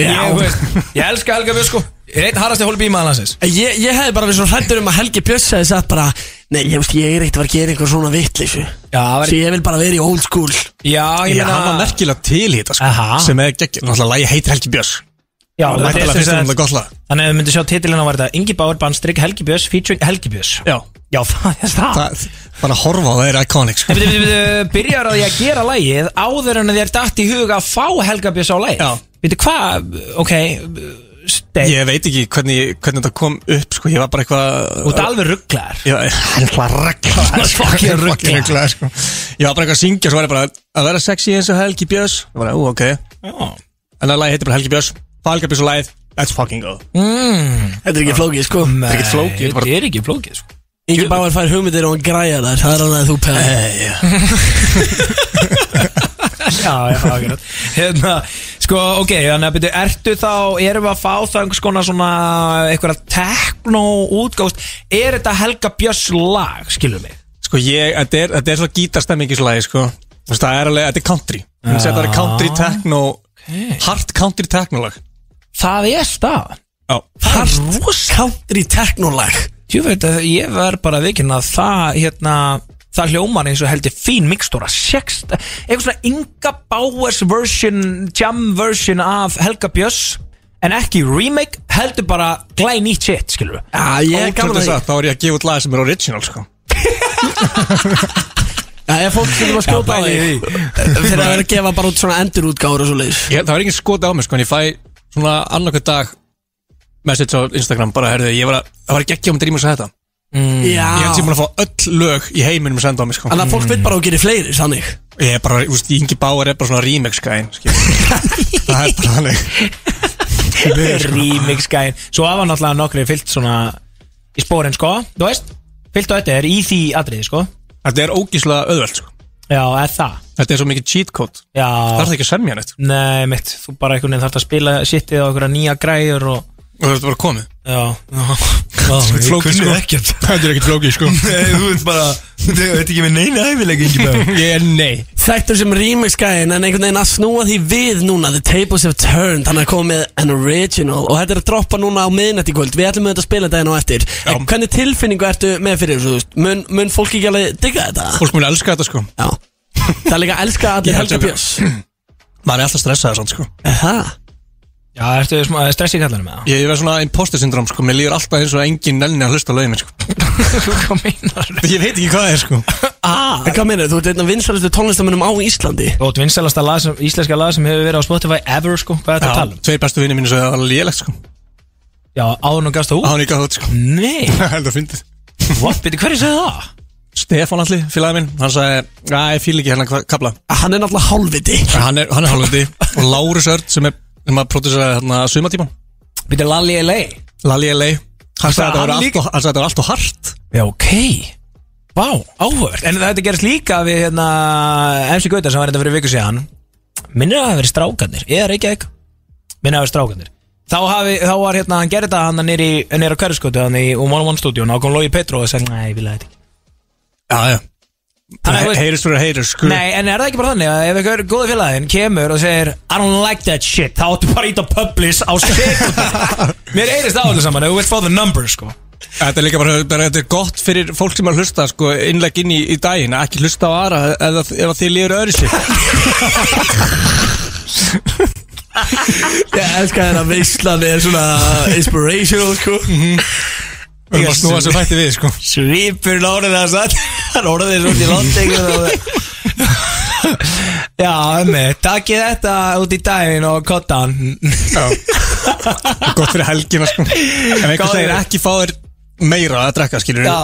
S4: Ég, veist, ég elska Helga Björns sko Ég er einn harrasti Holy B maður hansins
S3: Ég, ég hefði bara verið svo hrættur um að Helgi Björns hefði sagt bara Nei, ég veist, ég er eitt að vera að gera einhver svona vitleysu
S4: Já, það var-
S3: Svo ég vil bara vera í old school
S4: Já, ég
S2: ég,
S4: meina
S2: hann var merkilega til í þetta sko,
S4: Aha.
S2: sem er geggjum, náttúrulega lagið heitir Helgi Björns
S4: Já,
S2: og
S4: þetta
S2: væntanlega
S4: er
S2: finnst
S4: sem
S2: hann
S4: sagt-
S2: það gott lag
S4: Þannig að við myndum sjá titilina var þetta Ingi Bauer bandstrykk Helgi Björns featuring Helgi Björns
S2: já,
S4: Já, það er það
S2: það, bara að horfa á það er iconic
S4: En
S2: sko.
S4: byrju, byrju, byrju, byrjar á því að gera lægið áður en þér datt í huga að fá Helga Björns á lægið
S2: Já.
S4: Veitu hvað, ok, stein
S2: ég veit ekki hvernig, hvernig þetta kom upp sko, ég var bara eitthvað
S4: Þú ert alveg rugglar
S2: Já, hann ætla að regla
S4: Fucking rugglaður.
S2: sko. Ég var bara eitthvað að syngja Svo var ég bara að vera sexy eins og Helgi Björns Ég bara, ú, ok En það lagi heitir bara Helgi Björns Það Helgi Björns og lagið Let's fucking go
S3: Þetta er ekki flókið, sko
S4: Það
S2: ekkert flókið, þetta
S4: Þetta er ekki flókið sko.
S3: Ingi Báar Eh, fær hugmyndir og hann græja þar Það er alveg að þú pæða
S4: Já, já, akkurat Hérna, sko, ok, þannig að byrju, ertu þá, erum við að fá það einhvers konar svona einhverja tekno útgást Er þetta Helga Björns lag, skilur mig?
S2: Sko ég, þetta er, þetta er svo gítarstemmingislægi sko Þú veist, Það er alveg, þetta er country Þannig
S3: Ah,
S2: að þetta er country techno Hard country techno lag
S4: Það er stað
S2: Já
S3: Hart country technolag
S4: Jú veit að ég verð bara að vikina að það, hérna, það hljómar eins og heldur fín mikstúra Sjext, eitthvað svona Inga Bauers version, jam version af Helga Björns En ekki remake, heldur bara glæn nýtt shit, skilur við
S3: Já, Ah, ég er gaman að
S2: Ótrúlega
S3: því
S2: satt, þá er ég að gefa út lag sem er original sko
S3: Já, ég fólk sem að skjóta á
S4: Já,
S3: því
S4: pæli
S3: Fyrir að vera að gefa bara út svona endurútgáður og svo leiðis
S2: ég, Það var engin skoti á mig sko En ég fæ svona annarkvæð dag Message á Instagram bara, herðu, ég var að Það var ekki ekki um að drýma svo þetta Mm, Ég held sem
S3: Já,
S2: búin að fá öll lög í heiminum að senda á mig sko
S3: þannig að fólk veit bara að gera fleiri, sannig
S2: Ég er bara, þú veist, Ingi Bauer er bara svona remix gæn Það er bara þannig
S4: remix gæn Svo hafa náttúrulega nokkri fyllt svona í spórin sko, þú veist Fyllt á þetta er í því atriði sko
S2: Þetta er ógíslega auðvelt sko
S4: Já, eða það
S2: Þetta er svo mikið cheat code
S4: Já,
S2: Það er ekki að semja neitt
S4: nei mitt, þú bara einhvern veginn þarf að spila sittið á einhverja nýja græður og
S2: Og þetta er bara komið
S4: Já,
S2: Ekkert flókið sko Þetta er ekkert flókið sko
S4: Nei, þú veit bara, þetta er ekki með neina hæfilega ekki með
S2: Ég er nei
S3: Þættur sem remix gæðin en einhvern veginn að snúa því við núna The tables have turned, hann er komið með an original og þetta er að droppa núna á miðnætti í kvöld Við ætlum auðvitað að spila þetta enn á eftir En hvernig tilfinningu ertu með fyrir þessu, þú veist? Mun, mun fólk ekki alveg digga þetta?
S2: Fólk muni elska þetta sko
S3: Já Það er líka að elska allir
S2: Ég held
S3: Helga
S2: ekki.
S3: Björns
S2: Maður er alltaf stressaður svona sko
S3: Aha.
S4: Já, ertu smá stress í kallanum með það?
S2: Ég er svona imposter syndrom sko Mér líður alltaf eins og engin nenni að hlusta á lögin sko
S4: Hvað meinar
S2: Ég veit ekki hvað það er sko
S3: En hvað meina, þú ert einn af vinsalistu tónlistamönnum á Íslandi
S4: Og vinsalasta lag sem, íslenska lag sem hefur verið á Spotify ever, sko, hvað er þetta að tala um?
S2: Tveir bestu vinni mínu svo það var lélegt sko
S4: Já, áður nú gafst það út
S2: Án ekki að þótt sko
S4: Nei,
S2: Held að fyndið
S4: what, byrju, hverju segði það?
S2: Stefán Alli, félagi minn Hann sagði Æ, ég fíl ekki hérna kapla
S3: Hann er náttúrulega hálfviti
S2: Hann er, hann er hálfandi Og Lárus Örd sem er sem að prodúsera hérna sumatíma
S4: Byrju, Lalli LA
S2: Lalli L.A.
S4: Hvað,
S2: Hann sagði þetta
S4: hann
S2: væri allt
S4: líka?
S2: og- hann sagði þetta var allt og hart
S4: Já, ok Vá, áhört En þetta gerist líka við, hérna, MC Gauta sem var hérna fyrir viku síðan Minnir að það hafi verið strákanir, eða Reykjavík Minnir að það hafi verið strákanir Þá, hafi, þá var hérna, hann gerði þetta hann nýri, nýri á Kæriskötu, hann í Um One One Studio og kom Lói Petro og sagði, nei, ég vil það ekki
S2: Já, já
S4: Hann er-
S2: Heyrist fyrir heyrist sko
S4: Nei, en er það ekki bara þannig að ef einhver góði félagin kemur og segir I don't like that shit, þá áttu bara að íta publish á sekundar Mér eyrist á þetta saman, ef þú vilt fá the numbers sko
S2: Þetta er líka bara, bara þetta er gott fyrir fólk sem er að hlusta sko, innlegg inn í, í daginn, að ekki hlusta á aðra ef, ef, ef þið líður öðru sér
S3: Ég elska þér að veislan er svona inspirational sko
S2: og bara snúa þessu fætti við sko.
S4: Svipur lárið það satt Hann orðið svo út í landing Já, emmi, takk ég þetta út í daginn og kottan
S2: Og gott fyrir helgina sko. ef einhver
S4: Góður.
S2: segir ekki fá þér meira að drekka skilur
S4: Já,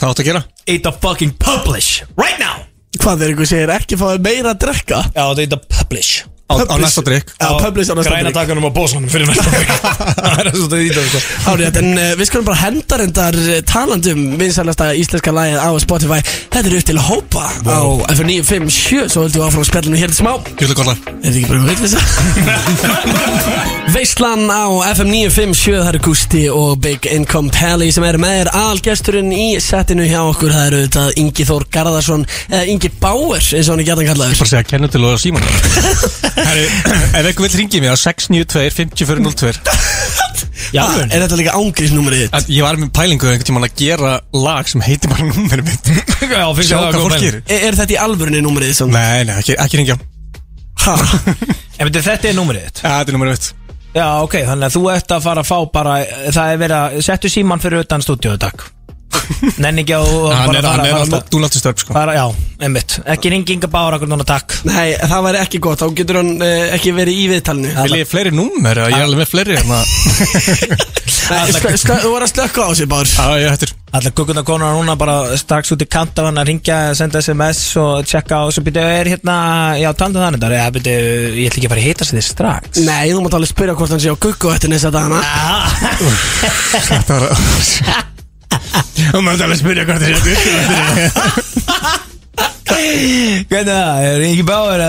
S2: hvað áttu að gera?
S4: íta fucking publish Right now
S3: Hvað er einhver segir ekki fáið meira að drekka?
S4: Já, þetta íta publish
S2: Á, á
S3: Publish.
S2: næsta drikk
S3: Já, publish á næsta
S4: Græna
S3: drikk.
S4: takanum á bósanum fyrir næsta Það er svo þetta íta sko
S3: Árið, en uh, við skulum bara henda reyndar eh, talandum vinsælasta íslenska lagið á Spotify Þetta er upp til hópa á F957 Svo höldum við áfram spjallinu hér til smá Er
S2: Gjölu góðla
S3: þetta ekki bara veitlisa? Veislan á FM957, það eru Gusti og Big Income Pally sem eru með þér algesturinn í settinu hjá okkur Það eru þetta Ingi Þór Garðarsson, eða Ingi Bauer eins og hann er gætan kallaður
S2: bara segja kennu til og síman Herri, ef einhver vill ringi mér á 692 5402
S4: Já,
S3: Ah, Er þetta líka ángriðsnúmerið þitt?
S2: Að ég var með pælingu einhvern tímann að gera lag sem heitir bara númeri mitt
S4: Já, finnst
S2: sjá
S4: það góð
S2: hvað fólk
S4: pæling.
S2: gerir
S3: Er, er þetta í alvörunni númerið þitt? samt?
S2: nei, nei, ekki, ekki ringja
S3: Ha?
S4: En veitir, þetta er númerið þitt
S2: Ja, þetta er númeri mitt
S4: Já, ok, þannig að þú ert að fara að fá bara Það er verið að settu síman fyrir utan stúdíu takk Nenni ekki að þú
S2: hann
S4: bara
S2: er,
S4: fara
S2: hann
S4: að
S2: er
S4: fara
S2: alltaf
S4: að
S2: dúnaldistöp sko.
S4: fara, Já, einmitt Ekki ringinga bára okkur núna takk
S3: Nei, það væri ekki gott, þá getur hann uh, ekki verið í viðtalinu
S2: Vil ég fleiri númer? eða Ég er alveg með fleiri hérna
S3: Nei, slö- slö- Þú var að slökka á sig bara
S2: Já, ég hættir
S4: Alla gugguna konar núna bara strax út í kant af hann að ringja Senda sms og tjekka og svo byrja Er hérna, já, talandi um þannig þar Ég byrja, ég ætla ekki bara að hita sér þið strax
S3: Nei, þú mátt alveg spyrja hvort hann sé á guggu eftir næsta dagana
S2: Þetta var Og maður er alveg að spyrja hvort þér séu
S4: Hvernig er það? Er Ingi Báður á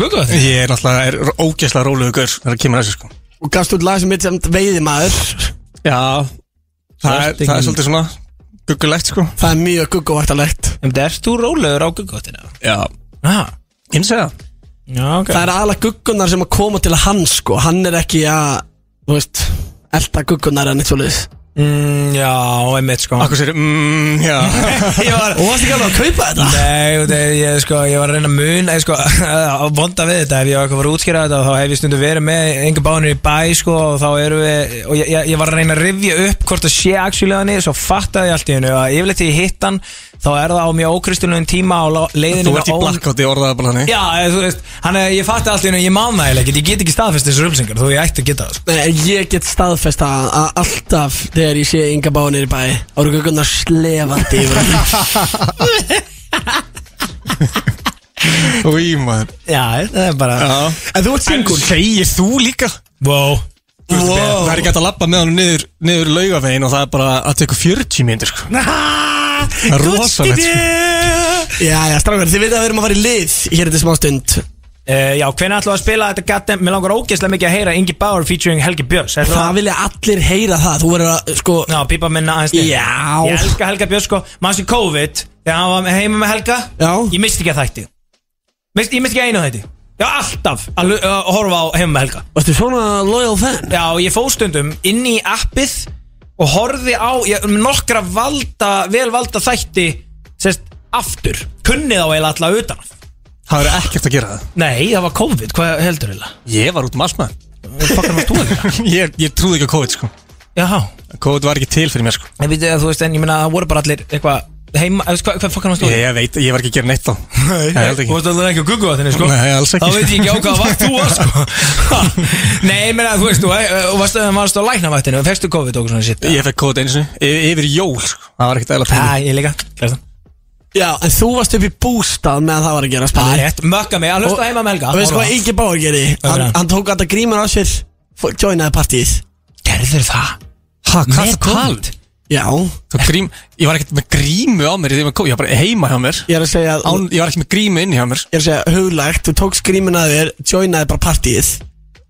S4: Google?
S2: Ég er náttúrulega, er ógeðslega rólegur gaur þegar það kemur að þessu sko
S3: Og gafst út lag sem mitt sem veiðimaður
S2: Já, það er, það er svolítið svona guggulegt sko
S3: Það er mjög gugguvartalegt
S4: En erst þú rólegur á Google-tina?
S2: Já,
S4: Já,
S2: ég myndi segja
S4: Ah,
S2: það
S4: já, ok
S3: Það er aðalega guggunar sem að koma til að hann sko Hann er ekki að, þú veist, elda guggunar en eitt svolítið
S4: mm, Já, einmitt sko
S2: Akkur sér, mmm, já
S4: Ég var
S3: Og varst ekki alveg að kaupa þetta?
S4: Nei, það, ég, sko, ég var að reyna að muna ég, sko, að vonda við þetta, ef ég var eitthvað að fara að útskýra þetta þá hef ég stundu verið með enga bánir í bæ sko, og þá eru við, og ég, ég, ég var að reyna að rifja upp hvort það sé axjulegaðni svo fattaði ég allt í hennu að yfirleitt þegar ég hitt hann þá er það á mjög ókristunlegin tíma á lá- leiðinu
S2: Þú ert í
S4: ón-
S2: blackouti, ég orðaði bara þannig
S4: Já, eða, þú veist, hann er, ég fatti allt í hennu, ég man það eiginlega ekkert, ég get ekki staðfest þessar umsengar, þú ég ætti að geta það sko.
S3: Nei, en ég get staðfest að að alltaf þegar ég sé Inga Bá nýri bæ Ára guggunar slefandi yfir hann
S2: Új, maður
S4: Já, það er bara
S2: Já
S3: En þú ert single
S2: Segir þú líka?
S4: Wow,
S2: Það er ekki hægt að lappa með hann niður, niður laugavegin og það er bara að teka 40 mínútur sko Það er rosalegt sko
S3: Já, já, strákar, þið veit að við erum að fara í lið Hér er þetta smá stund
S4: Uh, já, hvernig ætlum við að spila þetta gattem? Mér langar ógeðslega mikið að heyra Ingi Bauer featuring Helgi Björns Ætlum við að-
S3: Það vilja allir heyra það Þú verður að, sko
S4: Já, pípa minna aðeins niður.
S3: Já.
S4: Ég elska Helga Björns sko Mannstu COVID Þegar hann var heima með Helga
S3: Já.
S4: Ég misti ekki að þætti Mist, Ég misti ekki einu þætti Já, alltaf að, hlu- að horfa á heima með Helga
S3: Varstu svona loyal fan?
S4: Já, ég fóð stundum inn í appið Og horfði á ég, nokkra valda, velvalda þætti Sérst, aftur Kunnið á eiginlega alla utan að.
S2: Það er ekkert að gera það
S4: Nei, það var COVID, hvað heldur eiginlega?
S2: Ég var út um allt maður
S4: Fokkar maður tóði það
S2: ég, ég trúði ekki á COVID sko
S4: Jaha
S2: COVID var ekki til fyrir mér sko
S4: En við þú veist, en ég meina, það voru bara allir eitthvað heima, eða sko, hvað, hvað fokkar maður
S2: Ég,
S4: stóð?
S2: ég veit, ég var ekki að gera neitt þá Nei, ég held
S4: Þú
S2: ekki
S4: veist alveg ekki að guggu að þenni, sko
S2: Nei, alls ekki.
S4: Þá veit ég ekki á hvað vakt þú var, sko Nei, ég meina, þú veist, þú eh, og varst, varst á læknavaktinu, fegstu COVID og svona shit
S2: Ég fekk COVID einu sinni, y- yfir jól sko Það var ekkert eðla
S4: Æ,
S2: pæli
S4: ég líka, klæðan
S3: Já, en þú varst upp í bústað meðan það var að gera
S4: Það er
S3: spæði
S4: rétt, mökka mig, að hlusta heima með Helga
S3: Og veist
S4: Horfa.
S3: hvað Ingi Báar gerði?
S4: Hvað
S3: Hann,
S4: gerði hann?
S3: hann tók alltaf grímur á sér fór- Joinaði partíð
S4: Gerður það?
S2: Hæ, hvað
S4: Með
S2: það
S4: COVID?
S2: talið?
S3: Já, ég
S2: Þú grím, ég var ekkert með grímu á mér þegar ég var COVID, ég var bara heima hjá mér
S3: er að segja
S2: Án, Ég var ekki með grímu inn hjá mér
S3: Ég er að segja huglægt Þú tókst grímur að þér Joinaði bara partíð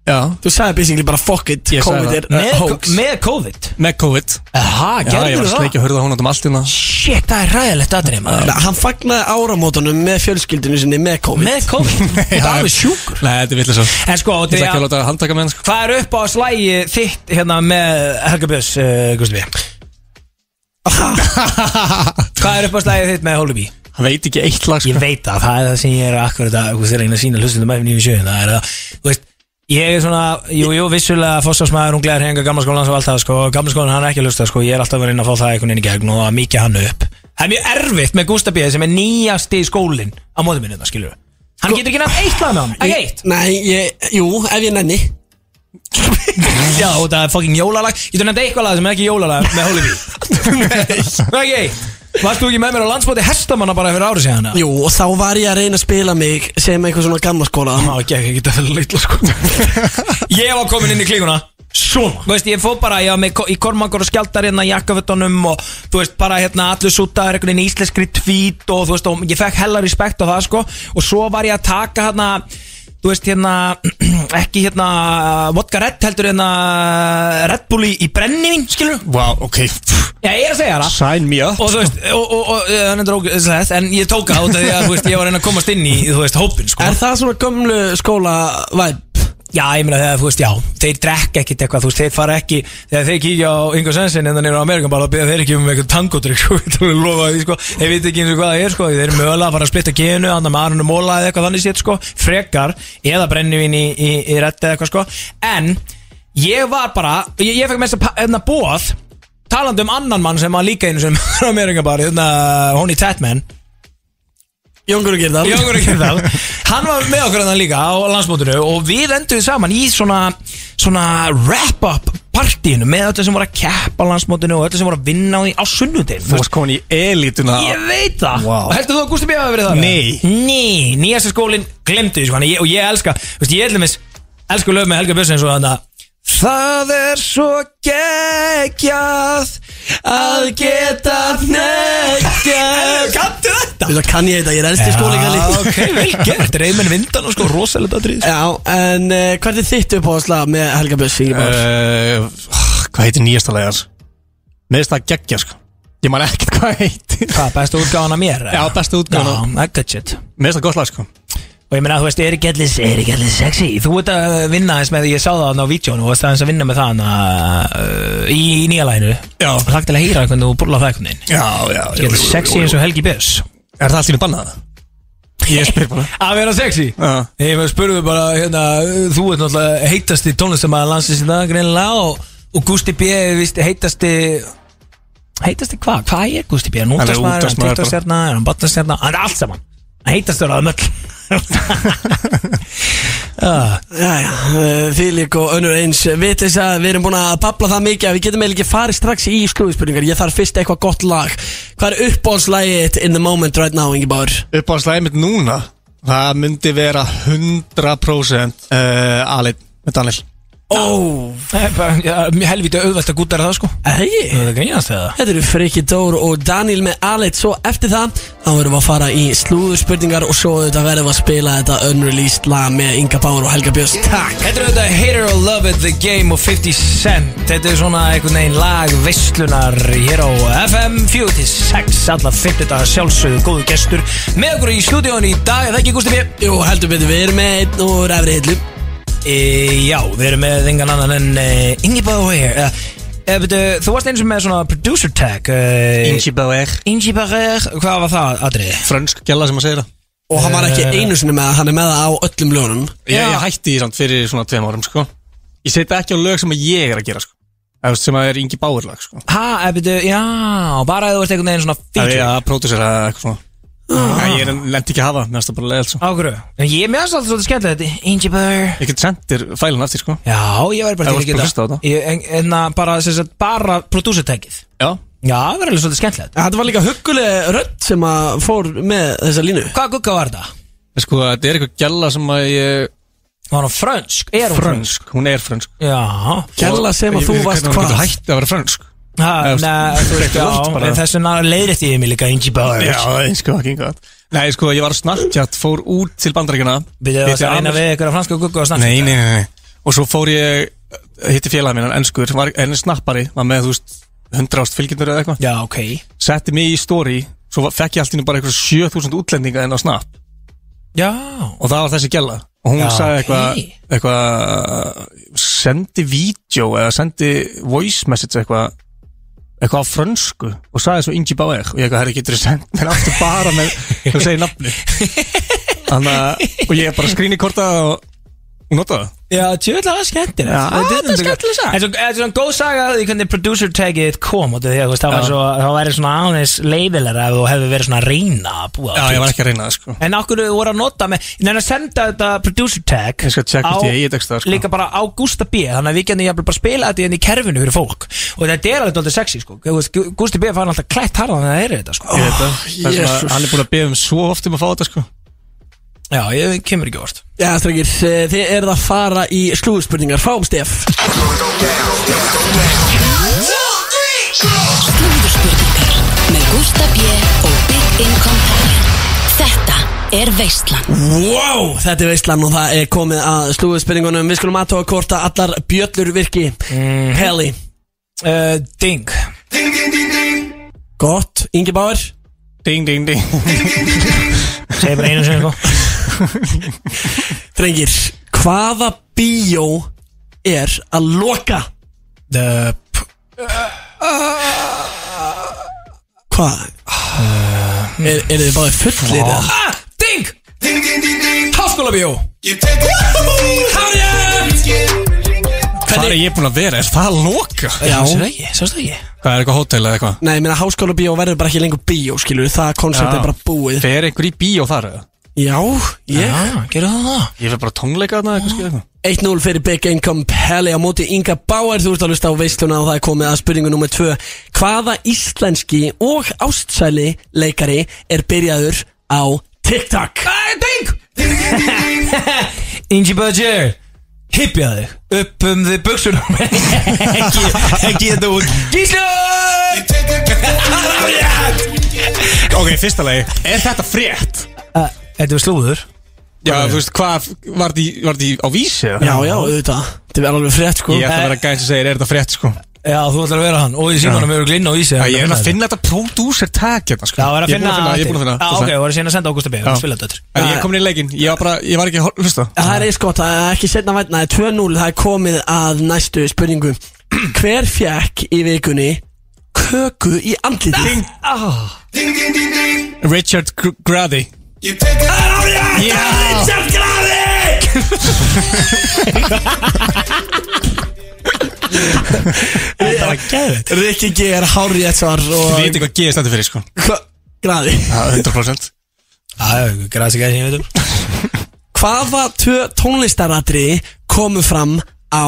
S2: Já
S3: Þú sagði basically bara fuck it
S2: Ég sagði
S3: COVID er
S2: það.
S3: uh,
S4: Með,
S3: hoax
S4: með COVID?
S2: Með COVID
S4: Aha,
S2: Já, ég var
S4: gerður
S2: að
S4: það?
S2: sleikja að hurða hún átum um allt hérna. innan
S4: Shit, það er ræðilegt aðrið, maður
S3: Nei, Hann fagnaði áramótunum með fjölskyldinu sinni með COVID
S4: Með COVID, þetta er alveg sjúkur
S2: Nei, þetta er villis að Ég
S4: En sko,
S2: ætla
S4: Andrea,
S2: ekki að láta handtaka með hann sko
S4: hvað er upp á slægi þitt hérna með Helga Björns, uh, Gusti B? Hvað er upp á slægi þitt með Holubi?
S2: Hann veit ekki eitt lag
S4: Ég
S2: sko
S4: veit það, það er það sem ég er akkurat að þú veist, reyna að sína hlustundum með nýjum sjöðin það er það, þú veist Ég er svona, jú, jú, vissulega fósásmaður, hún gleðar hengar gamla skólan og allt það, sko, gamla skólan hann er ekki að hlusta, sko, ég er alltaf að vera inn að fá það einhvern veginn í gegn og að mikið hann upp. Það er mjög erfitt með Gústa B. sem er nýjasti í skólinn á móðum minna, skilur Hann getur ekki nefn eitt lag með hann, ekki eitt.
S3: Nei, ég, jú, ef ég nenni
S4: Já, og það er fucking jólalag Ég þú nefndi eitthvað lag sem er ekki jólalag með Holy Bee Nei Nei, ekki Varst þú ekki með mér á landsbóti hestamanna bara fyrir ári síðan?
S3: Jú, og þá var ég að reyna að spila mig sem eitthvað svona gamla skóla
S4: Má ekki ekki geta fyrir litla sko Ég var komin inn í klíkuna Svona Þú veist, ég fór bara, ég var með ko- í kormangur og skjaldar hérna jakkafötunum og þú veist, bara hérna allir sútaður einhvern veginn í íslenskri tvít og þú veist, og ég fekk hella respekt á það sko og svo var ég að taka hérna þú veist, hérna, ekki hérna vodka redd heldur hérna Red Bull í, í brennivín, skilur
S2: Vá, ok pff,
S4: Já, ég er að segja það
S2: Sign me up
S4: og þú veist, og, og, og, og hann er drókið en ég tók það út af því að þú veist, ég var að reyna að komast inn í, þú veist, hópin sko.
S3: Er það svona gömlu skóla vibe?
S4: já, ég meina þegar, þú veist, já, þeir drekka ekkit eitthvað, þú veist, þeir fara ekki þegar þeir kíkja á Ingo Svensson en þannig á Amerikan bara, beða þeir ekki um eitthvað tangodrykk sko, við erum lofað því, sko, þeir veit ekki eins og hvað það er sko, þeir eru mögulega að fara að splitta genu annar með arnum móla eða eitthvað þannig sétt sko frekar, eða brennivín í, í, í rett eða eitthvað sko, en ég var bara, ég, ég fekk mest að bóð hérna, talandi um annan mann sem var líka einu sem á Amerikan bara, hérna, Honey Tatman
S3: Jóngur og Gerdal
S4: Jóngur Kjöndal um Hann var með okkur hann líka á landsmótinu og við enduðum saman í svona svona wrap-up partíinu með öllu sem voru að keppa á landsmótinu og öllu sem voru að vinna á, því á sunnudin
S2: Þú varst komin í elituna
S4: Ég veit það
S2: Vá.
S4: Og heldur þú að Gústi B. hafi verið það?
S2: Nei.
S4: Nei, nýjasta skólinn glemdu því sko, hann, ég, og ég elska Þú veist, ég ætlum eins Elsku lög með Helga Björnsson svo þannig að Það er svo geggjað
S3: Að geta fneggjast
S4: Kanntu þetta?
S3: Þú veist að kann ég þetta, ég er elsti skólingali
S4: Ah, ok, vel gert Reymen vindan og sko rosalega atrið
S3: Já, en uh, hvert er þitt uppáðslag með Helga Björns Ingeborg?
S2: uh, Hvað heitir nýjasta legar? Meðist það geggja sko Ég man ekkert hvað það heitir
S4: Eh, Hvað, bestu útgáðan að mér?
S2: Já, bestu útgáfan af-
S4: Já, ekkert shit
S2: Meðist það gott lag sko
S4: Og ég meina, þú veist, er ekki allir, er ekki allir sexy Þú ert að vinna eins með, ég sá það þarna á vídjónu og það eins að vinna með það hana, uh, í, í nýja læginu
S2: Já.
S4: Lagt til að heyra hvernig þú burla það einhvern veginn
S2: Já, já
S4: Ég er sexy eins og Helgi Björns
S2: Er það allir bannað? Ég spyr bara
S4: Að vera sexy?
S2: Já.
S4: Ég með spurðu bara, hérna, þú ert náttúrulega heitasti tónlistamæður landsins í dag, greinilega og, og Gusti B. er vist heitasti heitasti hvað? Hvað er Gusti B? Er hann
S2: Hann er
S4: útastmaður, er hann
S2: útvarpsmaður bara.
S4: tvítastjarna, er hann batnastjarna hann er allt saman, hann heitastur á þeim öll Já,
S3: Jæja, uh, Fílik og önnur eins Við þess að við erum búin að babla það mikið að Við getum eiginlega ekki farið strax í skrúðspurningar Ég þarf fyrst eitthvað gott lag Hvað er uppáðslagið þitt in the moment right now, Ingeborg?
S2: Uppáðslæðið mitt núna Það myndi vera 100% uh, Alin með Daniel
S3: Ó,
S4: það er bara ja, helviti auðvelt að gúta það sko
S3: hegi
S4: Það er grínast eða?
S3: Þetta eru Friki Dór og Daniel með Alit Svo eftir það, þá verðum við að fara í slúðurspurningar Og svo auðvitað verðum við að spila þetta unreleased lag Með Inga Báur og Helga Björns Takk
S4: Þetta er auðvitað Hater or Love It, The Game og 50 Cent Þetta er svona einhvern veginn lag veistlunar hér á FM 46 Alla 50 dagar sjálfsögðu góðu gestur Með okkur í stúdíónu í dag, er það ekki Gústi B?
S3: Jú, heldur betur, við erum með einn úr efri hillu
S4: E, já, við erum með engan annan en e, Ingi Bauer e, e, betu, Þú varst eins og með svona producer tag e,
S2: Ingi Bauer
S4: Ingi Bauer, hvað var það atriði?
S2: Eh, Frönsk gæla sem að segja það
S3: Og hann var ekki einu sinni með það, hann er með það á öllum ljónum
S2: Ég, ég hætti því samt fyrir svona tveim árum sko Ég setja ekki á lög sem að ég er að gera sko Eða, þú veist, sem að er Ingi Bauer lag sko
S4: Ha, e, betu, já, bara að þú varst einhvern veginn svona
S2: Það er
S4: feature
S2: að pródusera eða eitthvað svona ah. Ég er lendi ekki að hafa, mér finnst það bara leið sko.
S4: Á hverju? Ég er mjög alltaf svolítið skemmtilegt Ingi Bauer
S2: Ég get sendir fælun aftur sko
S4: Já, ég væri bara
S2: Það
S4: til að
S2: varst bara að hlusta á
S4: geta
S2: þetta.
S4: Ég- en- En að bara, sem sagt, bara prodúsertækið
S2: Já
S4: Já, það verður alveg svolítið skemmtilegt
S3: Þetta var líka hugguleg rödd sem að fór með þessa línu
S4: Hvaða gugga var það?
S2: Sko, þetta er eitthvað gæla sem að ég
S4: Var hún frönsk? Er hún frönsk?
S2: Frönsk, hún er frönsk
S4: Já
S3: Kjalla sem að þú varst
S2: Hvernig
S3: hvað
S2: hún getur hætti að vera frönsk
S4: Ha,
S2: Eða,
S4: Nei,
S2: þú-
S4: þú veist,
S2: þú- þú-
S4: já
S2: bara-
S4: en Þess vegna leiðrétti ég mig líka Ingi Bauer
S2: Já, það er eins og ekki gott Nei, sko, ég var á Snapchat, fór út til bandaríkjana
S4: Byrjuðu
S2: hitti
S4: það að reyna
S2: annars-
S4: við einhverja franska gugga og snakka um
S2: Nei, nei, nei, nei Og svo fór ég, hitti félag minnan, ennskur var, En snappari, var með, þú veist, 100 ást fylgjendur eða eitthvað
S4: Já, ok
S2: Setti mig í story, svo var- fekk ég allt í einu bara eitthvað 7000 útlendinga inn á Snap
S4: Já
S2: og það var þessi gæla og hún
S4: Já,
S2: sagði eitthvað
S4: ok.
S2: eitthva, sendi vídeo eða sendi voice message eitthvað eitthvað á frönsku og sagði svo Ingi Bauer og ég eitthvað, herri, getur þú sendt mér aftur bara með þú segir nafni Þannig, að- og ég bara skrýni korta og og nota það
S4: Já, tjóðlega það er skemmtilegt
S2: Já, þetta er skemmtileg saga.
S4: En svo- en svona góð saga af því hvernig producertækið kom út af því að, þú veist, Það var
S2: Já.
S4: svo, það væri svona aðeins leiðilega ef þú hefði verið svona að reyna að búa
S2: Já,
S4: til,
S2: ég var
S4: sko.
S2: ekki að reyna það sko
S4: En okkur þú voru að nota með Ég nefnir að senda þetta producer tag
S2: Ég skal
S4: á-
S2: tjekka hvort ég eigi texta, sko.
S4: Líka bara á Gústa B Þannig að við genið jafnvel bara spila þetta inn í kerfinu fyrir fólk Og þetta er alveg doldið sexy sko Þú veist, Gú- Gústi B fann alltaf klætt harðan að það er þetta sko
S2: Ég veit það, það er
S3: Jesus.
S2: svona, hann er búin að beða um svo oft um að fá þetta sko
S4: Já, ég kemur ekki vort
S3: Já, strengir, eh, þið eruð að fara í slúðspurningar Fáum Stef
S1: Slúðurspurningar með Gústa B. og Big Income Palin Þetta er Veistland
S3: Wow, þetta er veistlan og það er komið að slúðspurningunum Við skulum aðtóa hvort að allar bjöllur virki mm. Heli,
S4: uh, Ding
S3: gott, Ingi Báir
S2: Ding, ding, ding
S4: Segir bara einu sinni sko
S3: Strengir, hvaða bíó er að loka?
S4: The p-
S3: Hvað?
S2: Uh,
S3: Er, eru þið báðir fullir? eða?
S4: Ah, Ding Háskóla bíó
S2: Hvað er ég búin að vera, er það að loka?
S3: Já.
S4: Sástu ekki, sástu ekki
S2: Hvað er eitthvað hótel eða eitthvað?
S3: Nei, ég meina háskóla bíó verður bara ekki lengur bíó, skilur Það koncept
S2: Já.
S3: er bara búið
S2: Fer einhver í bíó þar eða?
S3: Já, ég
S4: Já, Ah, gerðu það það
S2: Ég fyrir bara tónleika þarna eitthvað skil eitthvað
S3: 1-0 fyrir Big Income Peli á móti Inga Bauer, þú ert að lusta á veisluna og það er komið að spurningu nummer 2 Hvaða íslenski og ástsæli leikari er byrjaður á TikTok?
S4: Ingi Böger Hypja þig Upp um þið buksunum Ekki, ekki þetta út Gísla
S2: Ok, fyrsta lagi Er þetta frétt?
S4: Eh, Þetta er slúður
S2: Já, þú veist, hvað Var þetta á vísi? eða?
S3: Já, já, auðvitað Þetta er alveg frétt sko
S2: Ég ætla að vera gæn sem segir, er þetta frétt, sko
S4: Já, þú ætlar að vera hann Og í símanum eru glinn á ísi
S2: Já, Ég er að finna þetta prodúser tag hérna, sko
S4: Já, er að
S2: Ég búinn
S4: finna
S2: Ég er búin að
S4: Já,
S2: finna þú
S4: ok, Ah.
S2: sagði.
S4: þú er að síðan að senda Ágústa B
S2: Já.
S4: Spila þetta
S2: En ég kom inn í leikinn Ég var bara, ég var ekki að hor- hlusta
S3: Ah, Það er eins gott, það er ekki setna vætna Það er 2-0, það er komið að næstu spurningu Hver fjekk í vikunni köku í andliti?
S2: Richard Gr- Grady
S4: Þetta var gæðið
S3: Rikki G er hárið eitt svar
S2: Þið
S3: og
S2: veitir hvað G stendur fyrir, sko
S3: Hva- Graði
S2: Já, 100%
S4: Já, græsi gæði sem ég veit um
S3: Hvaða tvö tónlistaratri komu fram á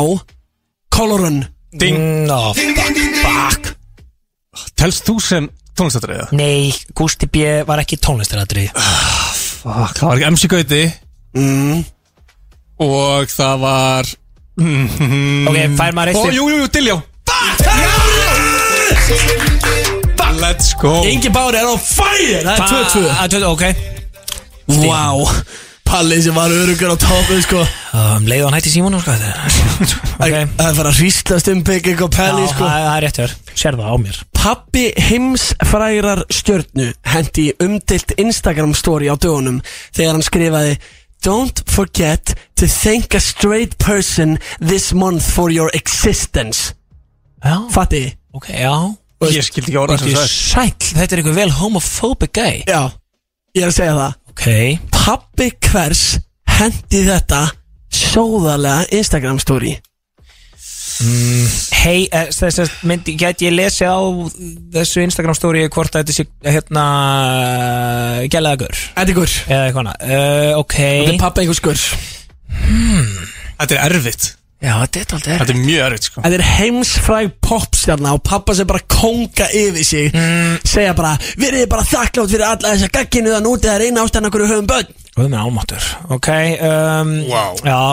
S3: Colorun?
S2: Ding
S4: Ná
S3: Fuck
S2: Telst þú sem tónlistatræðið?
S4: Nei, Gústi B var ekki tónlistaratri
S2: Fuck, Ah, það var ekki MC Gauti Og það var
S4: Ok, fær maður eitt
S2: Ó,
S4: stig?
S2: jú, jú, jú, Diljá Let's go
S3: Ingi Bári er á fire, það er
S4: Fa-
S3: 2-2
S4: að 2-2, ok
S3: Vá Palli sem var örugur á topu sko
S4: um, Leigðu hann hætti símanum, sko þetta er- Ok
S3: Það er bara að hríslast um Big og Pelli
S4: Já,
S3: sko
S4: það það er rétt hér Sér það á mér
S3: Pappi heimsfrærar stjörnu hendi í umdilt Instagram story á dögunum þegar hann skrifaði Don't forget to thank a straight person this month for your existence
S4: Já
S3: Fatti?
S4: Ok, já
S2: Ég skildi ekki orða sem
S4: Þetta er
S2: það
S4: sæll Þetta er einhver vel homophobic gay
S3: Já, ég er að segja það
S4: Ok
S3: Pappi hvers hendi þetta sjóðarlega Instagram story
S4: Hei, eh, þess að myndi Gæt ég lesi á þessu Instagram story Hvort að þetta sé hérna Gælagur
S3: Eddigur
S4: Eða eitthvað annað. uh, Ok
S3: Þetta er pappi einhvers skur
S2: Þetta er erfitt
S4: Já, þetta er alltaf
S2: Þetta er mjög erfitt, sko
S3: Þetta er heimsfræg popstjarna og pappa sem bara konga yfir sig
S4: Mm.
S3: segja bara, verið þið bara þakklátt fyrir alla þessa gagginu þann úti það er eina ástæðan okkur við höfum börn
S4: Guð minn ámáttur Ok um, Wow Já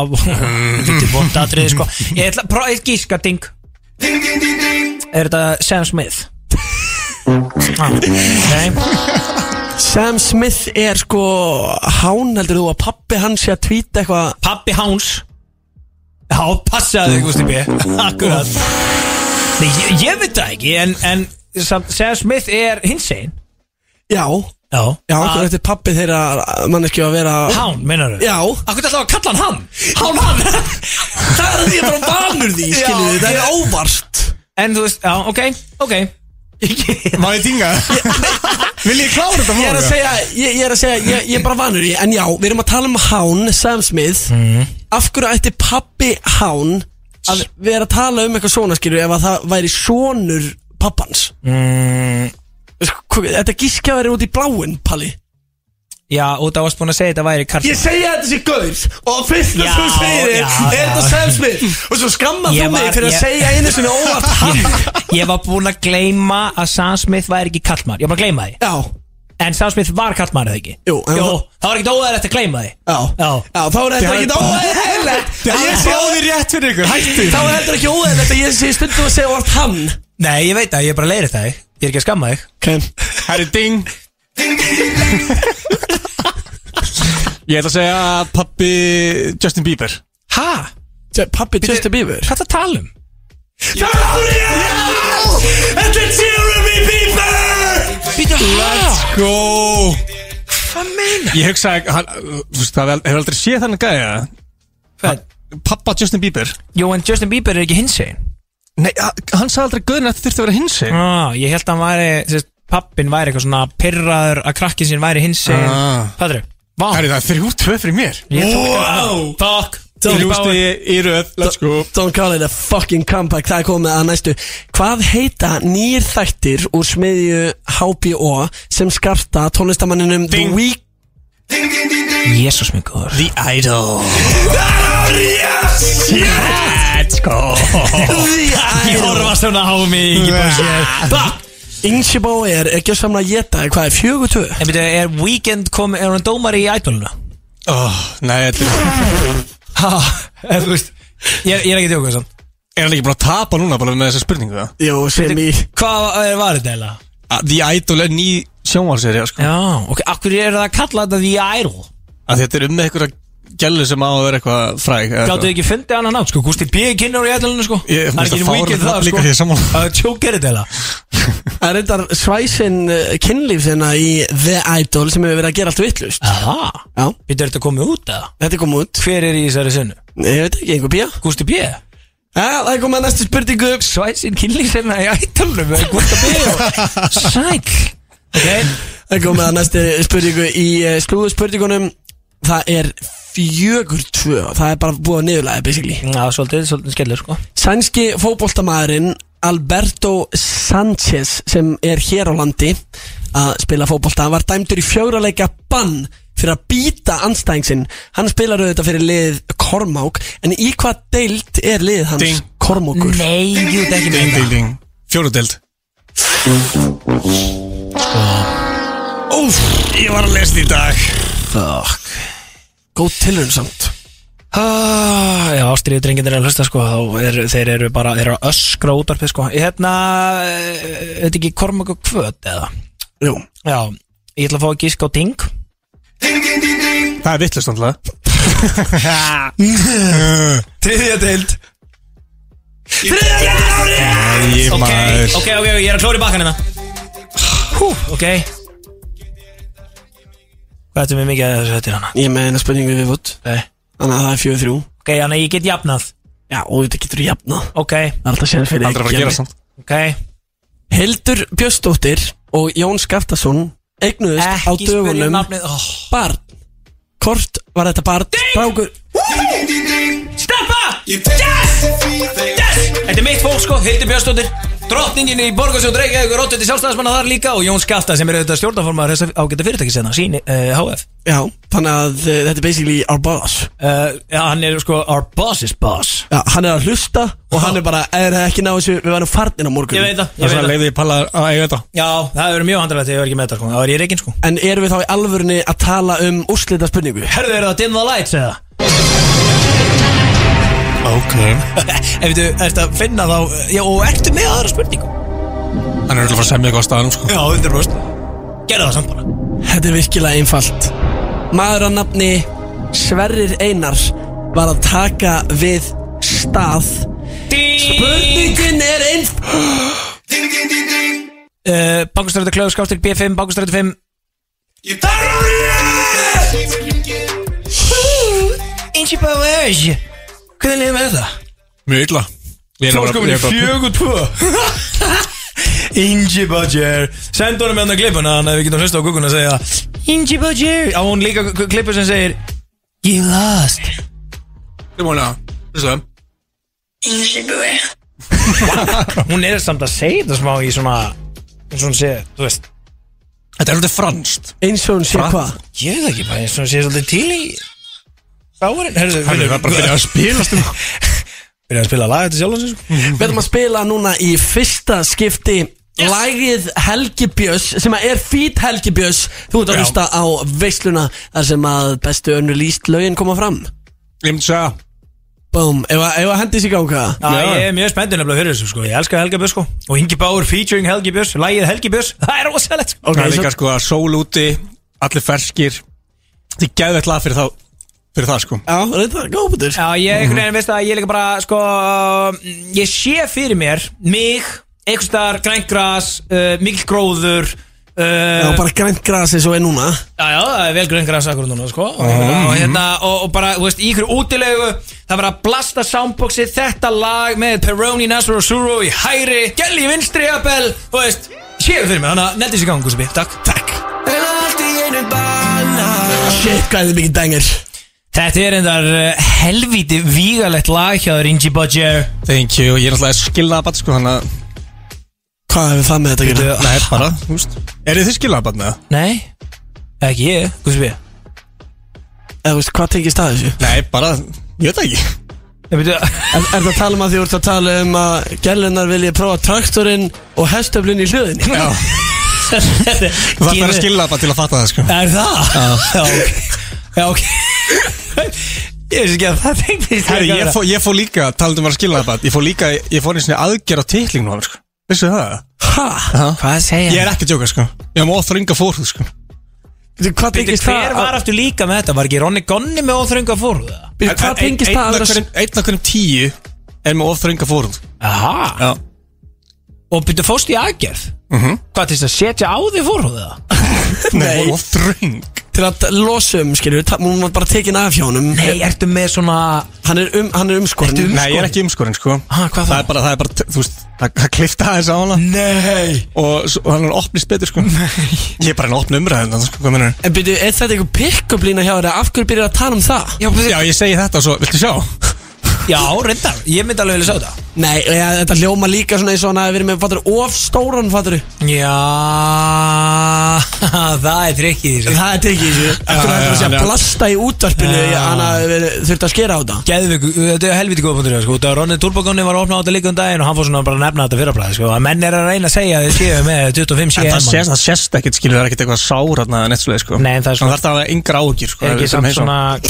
S4: Þetta er bótt aðrið sko Ég ætla að prófa eitt gíska ding Er þetta Sam Smith? ah, ok
S3: Sam Smith er sko hán heldur þú að pappi hans sé að tvíta eitthvað
S4: Pappi Háns Já, passaði þig Gústi B Akkurat Nei, ég, ég veit það ekki En, en samt, Sam Smith er hinsegin
S3: Já,
S4: Já
S3: já, okkur þetta er pappi þeirra manneskju að vera
S4: Hán, meinar þau?
S3: Já,
S4: Akkur ætlaðu að kalla hann hann? Hán hann
S3: það er því að bara vanur því, skilju
S4: Já,
S3: þið, það
S4: ég-
S3: er óvart
S4: En þú veist, já, ok, ok
S2: Má ég dinga? Vil ég klára þetta
S3: Ég er að
S2: mál?
S3: segja, ég, ég er að segja, ég, ég er bara vanur því En já, við erum að tala um hán, Sam Smith
S4: Mhm.
S3: Af hverju ætti pappi hán að vera að tala um eitthvað svona skilju Ef að það væri sonur pappans mm. Þetta gískja verið út í bláinn, Palli
S4: Já, út af að búin að segja þetta væri karl
S3: Ég segja þetta sé gaur og fyrsta
S4: Já,
S3: sem þú segir
S4: já,
S3: er er þetta
S4: já.
S3: Sam Smith og svo skamma þú
S4: Ég
S3: mig
S4: var-
S3: fyrir að
S4: ég-
S3: segja einu sinni óvart hann
S4: Ég var búinn að gleyma að Sam Smith væri ekki kallmaður Ég var búinn að gleyma því
S3: Já,
S4: En Sam Smith var kallmaður eða ekki
S3: Jú, en-
S4: það var ekkert óæðilegt að gleyma því
S3: já,
S4: Já.
S3: já þá er þetta ekki óæðilegt að ég sé
S2: Báði rétt fyrir ykkur, hættu
S3: Þá er þetta ekki óæðilegt að ég sé stundum að segja óvart hann
S4: Nei, ég veit það, ég er bara að leiðri það Ég er ekki að skamma þig
S3: okay.
S2: Herri, ding Ég ætla að segja pappi Justin Bieber
S4: Ha?
S3: Pappi Justin Bieber
S4: Hvað það tala um?
S3: Býtu hæ
S2: Go
S4: Hvað meina?
S2: Ég hugsaði, hann- uh, þú veist, það hefur aldrei séð þannig gæja
S4: Hvað?
S2: Pappa Justin Bieber
S4: Jú, en Justin Bieber er ekki hinsegin
S2: Nei, h- hann sagði aldrei guðin að þetta þurfti að vera hinsi
S4: ah, Ég held að hann væri, þess, pappin væri eitthvað svona Pirraður að krakkin sín væri hinsegin
S2: Ah.
S4: Hvað er Vá
S2: Herri, það er þrjú tvö fyrir mér
S4: Ég tók
S2: Wow.
S4: þetta Fuck Ég
S2: Þrjú
S4: báði-
S2: stigi í röð, let's go
S3: Don't call it a fucking comeback Það er komið að næstu Hvað heita nýr þættir úr smiðju HBO sem skarta tónlistamanninum The
S2: Ding.
S3: Week
S4: Jésús minn góður
S2: The Idol Let's go
S4: Ég horfa svona á mig Ég bara sé Fuck
S3: Ingeborg er ekki að samla að geta Hvað er fjögur tvö?
S4: En byrju, er Weekend kom, er hann dómar í ædoluna?
S2: oh, Nei, þetta Ah, er
S4: Ha, eða eh, þú veist Ég, er- ég er ekki tjókuð sann
S2: Er hann ekki búin að tapa núna bara með þessa spurningu það?
S3: Jó, sem í
S4: Hvað var- var þetta eiginlega?
S2: Að The Idol er ný sjónvalserja sko.
S4: Já, ok, akkur er það að kalla þetta The Idol?
S2: að Þetta er um með einhverja gælu sem á að vera eitthvað fræg eða
S4: Gáttu
S2: eitthvað.
S4: ekki fundið hann að nátt, sko, Gústi B. kynnar í ætlunum, sko
S2: Ég-
S4: Það er
S2: mér
S4: ekki
S2: finnst það
S4: weekend
S2: fáránlegt
S4: það,
S2: nafn líka, ég er
S4: sko
S2: sammála.
S4: Að tjók er þetta eiginlega
S3: Það er reyndar svæsin uh, kynlíf þennan í The Idol sem hefur verið að gera allt vittlust
S4: Aha,
S3: Já,
S4: býttu þetta komið út eða?
S3: þetta er komið út
S4: Hver er í þessari sönnu?
S3: Ég veit ekki, einhver pía
S4: Gústi B.
S3: Já, það er komið að næstu spurningu
S4: Svæsin kynlífsina í ætlunum Gústi B. Sæl Ok,
S3: Það er komið að næstu spurningu í uh, slúðu spurningunum Það er fjögur tvö Það er bara búið að niðurlega, basically
S4: Já, svolítið, svolítið skellur sko
S3: Sænski fótboltamaðurinn Alberto Sanchez sem er hér á landi að spila fótbolta var dæmdur í fjóraleika bann fyrir að býta anstæðingsinn hann spilar auðvitað fyrir lið Kormák en í hvað deilt er lið hans
S2: Ding.
S3: Kormákur?
S4: Nei, jú, þetta ekki
S2: Ding, ding, ding. Fjórudeld Úf, ég var að lesa þetta í dag
S3: Fuck Góð tilhörn samt
S4: ah, Já, ástriðu drengindir er að hlusta sko þá er, Þeir eru bara, þeir eru að öskra útarpið sko Ég hérna, eh, þetta ekki kormak og kvöt eða
S3: Jú
S4: Já, ég ætla að fá að gíska á ting
S2: Það er vittlust náttúrulega
S4: Þriðja deild
S2: Ég
S4: Ok,
S2: maður
S4: ok, ok, ég er að klóra í bakkan hérna Hú, ok Hvað ertu mér mikið að þessu hérna? höttir hana?
S3: Ég er með eina spurningu við viðbútt
S4: Nei.
S3: Þannig að það er fjögur þrjú
S4: Ok, hann ég get jafnað
S3: Já og þetta getur jafnað
S4: Ok,
S3: Það er alltaf sér fyrir
S2: Aldrei að fara að gera samt
S4: ok
S3: Hildur Björnsdóttir og Jón Skaftason eignuðist á
S4: Ekki spyrja um
S3: dögunum
S4: nafnið oh.
S3: barn Hvort var þetta barn? Strákur
S4: Steppa! Yes! Þetta er mitt fólk sko, Hildur Björnsdóttir Drottningin í Borgarsjóð Reykjavík og Rottveiti sjálfstæðismanna þar líka og Jón Skafta sem er auðvitað stjórnaformaður þess ágæta fyrirtæki senna, síni uh, HF
S3: Já, þannig að uh, þetta er basically our boss
S4: uh, Já, hann er sko our boss's boss
S3: Já, hann er að hlusta og hann er bara Er það ekki náðu þessu, við verðum farnir á morgun
S4: Ég veit það,
S2: Það er
S4: ég veit
S2: svona
S4: það
S2: leiði ég palla að eiga þetta
S4: Já, það hefur verið mjög handrætt þegar ég var ekki með þetta sko, það var ég reikinn sko
S3: En erum við þá í alvörunni að tala um úrslita spurningu?
S4: Herðu, eru það dim the lights eða?
S2: Ok
S4: Ef þú ert að finna þá, eh, já, og ertu með aðra spurningu?
S2: Hann er öll að fara að semja eitthvað á staðanum sko
S4: Já, 100% Gerðu það samt bara
S3: Þetta er virkilega einfalt Maður að nafni Sverrir Einar var að taka við stað Spurningin er einf
S4: uh, Bankustræti Klaus, Skaftir B5, Bankustræti 5 Ingi Bauer Hvernig liðum við það?
S2: Mjög illa Ég er bara- ég er bara-
S4: og tvö Ingi Bauer Send honum með hann að klippuna Þannig að við getum hlusta á gugguna að segja Ingi Bauer Á hún líka klippu sem segir You lost
S2: Simóna, þessu það
S4: Hún er samt að segja þetta smá í svona eins og hún sé, þú veist
S2: Þetta er alltaf franskt
S3: Eins og hún sé hvað
S4: Ég veit það ekki bara eins og hún sé svolítið til í Sáurinn, herrðu
S2: Hann er bara að byrja að spila sko. Mhm, stund
S4: Byrjaði að spila lag þetta sjálf hans sko.
S3: Við ætlum að spila núna í fyrsta skipti Lagið Helgi Björns sem að er fýt Helgi Björns Þú ert að
S2: Já.
S3: hlusta á veisluna þar sem að bestu önnu líst lögin koma fram
S2: Ég myndi segja
S3: Búm, ef að ef að hendi sig ganga
S4: Já, ég er mjög spenntur nefnilega fyrir þessu sko Ég elska Helga Björns sko Og Ingi Báur featuring Helgi Björns Lægið Helgi Björns Það er rosalegt sko
S2: Það er
S3: svo-
S2: líka sko að sól úti Allir ferskir Þetta er gæðvett lag fyrir þá Fyrir það sko
S3: Já, reynda, góð betur
S4: Já, ég einhvern veginn veist að ég líka bara sko mm, Ég sé fyrir mér Mig, einhvers staðar, grængras uh, Mikil gróður
S3: Já,
S4: uh,
S3: bara grænt grasi svo er núna
S4: Já, já, það er vel grængras akkur núna sko og, og, hérna, og, og bara, þú veist, í ykkur útilegu Það var að blasta soundboxi Þetta lag með Peroni, Nasur og Suro Í hæri, Gelli, í vinstri, Abel Þú veist, séu fyrir mér Þannig að neldis í gang, Guðsubi, takk Takk
S3: Shit, hvað er þið mikið dengir
S4: Þetta er endar helvíti vígalegt lag hjá þér Ingi Bodger
S2: Thank you Ég er alltaf skilnaðabat sko Þannig að
S3: Hvað hefur það með þetta að gera?
S2: Nei, bara, þú veist Eru þið skilnaðabat með það?
S4: Nei, ekki ég, hvað sem ég
S3: Eða, veist, hvað tengist það þessu?
S2: Nei, bara Ég veit það ekki
S4: Ég myndi að
S3: Er, er það að tala um að því voru að tala um að Gælunar vilja prófa traktorinn og hestöflun í hlöðinni?
S2: Já Þú þarf að vera skilnaðabat til að fatta það sko
S4: Er það? Já, ok Já, ok Ég veist ekki að það tengdist
S2: Herri, ég fór, ég fór líka, talandum var að skilja það bara Ég fór líka, ég fór eins og aðgerð á titlingnum á mér, sko Vissu það?
S3: Ha?
S4: Hvað segja?
S2: Ég er ekki að djóka, sko Ég var óþrönga fórhúð, sko
S3: Bíddu, Hvað
S4: Bíddu,
S3: tengist
S4: hver
S3: það?
S4: var aftur líka með þetta? Var ekki Ronni Gonni með óþrönga fórhuga?
S3: Bíddu, Hvað tengist það? að vera-
S2: Einn af hverjum tíu er með óþrönga fórhúð
S4: Aha
S2: Já
S4: Og byrju fórst í aðgerð? Hvað til þess að setja á því fórhuga?
S2: Nei
S3: Nei,
S2: Óþröng
S3: til að losa um, skilju Hún var bara tekin af hjá honum
S4: Nei, ertu með svona
S3: Hann er, um, hann er umskorinn
S2: Nei, ég er ekki umskorinn, sko
S4: Ha, hvað
S2: Það
S4: þá?
S2: er bara, það er bara, þú veist Það, það klifta aðeins á hana
S4: Nei
S2: Og svo- og hann er opnist betur, sko Ég er bara en opn umræðin, þannig, sko, hvað mennur
S3: En byrju, er þetta eitthvað pick-up lína hjá þér eða Af hverju byrjar að tala um það?
S4: Já, byrju,
S2: Já, ég segi þetta og svo, viltu sjá?
S4: já reyndar Ég myndi alveg vilja sjá þetta
S3: Nei, ja, þetta hljóma líka svona eins og hann að verið með fattur of stóran fattur
S4: Já, það er trikkið í þessu
S3: Það er tekið þessu Eftir að
S2: já,
S3: þetta sé
S2: já.
S3: að blasta í útvarpinu
S4: Já.
S3: Hann að þurft að skera á það
S4: Geðvik, þetta er helviti góða punktur sko. Það Ronni Turbogóni var að opna á þetta líka um daginn og hann fór svona bara að nefna þetta fyrrablaði sko. að menn er að reyna að segja að þið séu með 25
S2: En
S4: CM
S2: það sést, það sést ekkit, skilur, það er ekkit eitthvað sáratna en eitt svoleið, sko
S4: Nei, en það er svona-
S2: þarf það að hafa yngra áhugir, sko
S4: er ekki
S2: ef við
S4: samt
S2: sem heimsókn.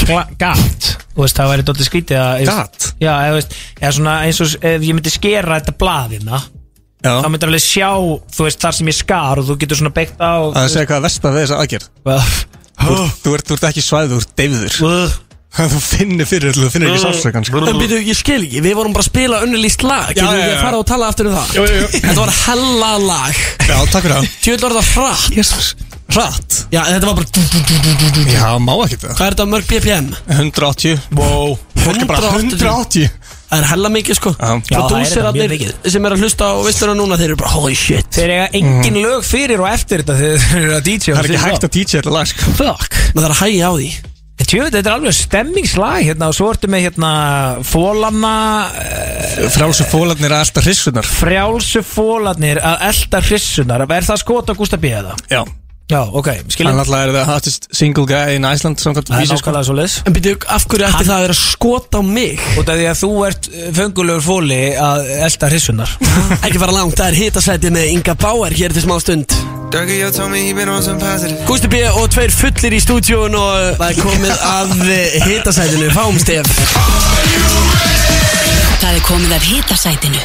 S4: svona kla- gat Þú veist, það væri dóttir skrítið að
S2: Gat?
S4: Já, eða, þú veist, eða svona eins og s- ef ég myndi skera þetta blaðina
S2: Já.
S4: þá myndir alveg sjá, þú veist, þar sem ég skar og þú getur svona beitt á
S2: að segja hvað er versta við þessa aðgerð þú, ert- þú, ert, þú ert ekki svæðið, þú ert deyfður þú finnir fyrir, þú finnir ekki sársökan sko.
S3: En byrju, ég skil ekki, við vorum bara að spila önnulíst lag Getur
S2: já,
S3: við
S2: já.
S3: að fara og tala aftur um það?
S2: Jú, jú, jú.
S3: Þetta var hella lag
S2: já, takk fyrir það
S3: Tjóðlega var þetta hratt
S2: Jesus. hratt,
S3: Já, þetta var bara dú, dú, dú, dú, dú, dú.
S2: já, má ekki það
S3: Hvað er þetta mörg BPM?
S2: 180 wow. fólk er bara
S3: 180.
S2: 180
S3: Það er hella mikið sko
S2: Já.
S3: Svo
S4: Já, það er þetta mjög
S3: dúsirarnir sem er að hlusta á veistluna núna Þeir eru bara holy shit
S4: Þeir eiga engin lög fyrir og eftir þetta þegar þeir eru að DJ
S2: Mm. það er ekki hægt að DJ þetta lag sko.
S4: Fuck
S3: Maður þarf að hægja á því
S4: En Tjöfut, þetta er alveg stemmingslag hérna og svo ertu með hérna fólanna
S2: frálsum fólarnir að alltaf hrissunar
S4: frjálsu fólarnir að elda hrissunar Er það skot á Gústa B. eða?
S2: já
S4: Já, ok,
S2: Hann
S4: skiljum
S2: alltaf er það hottest single guy in Iceland samkvæmt
S4: Það er
S2: vísi sko
S4: nákvæmlega svo leis
S3: En byrju, af hverju ætti það að vera skot á mig?
S4: Út af því að þú ert fengulegur fóli að elda hrissunar
S3: Ekki fara langt, það er hitasætið með Inga Bauer hér til smá stund Gústi B. og tveir fullir í stúdíun og uh, það er komið að uh, hitasætinu, fáum stef
S1: Það er komið af hitasætinu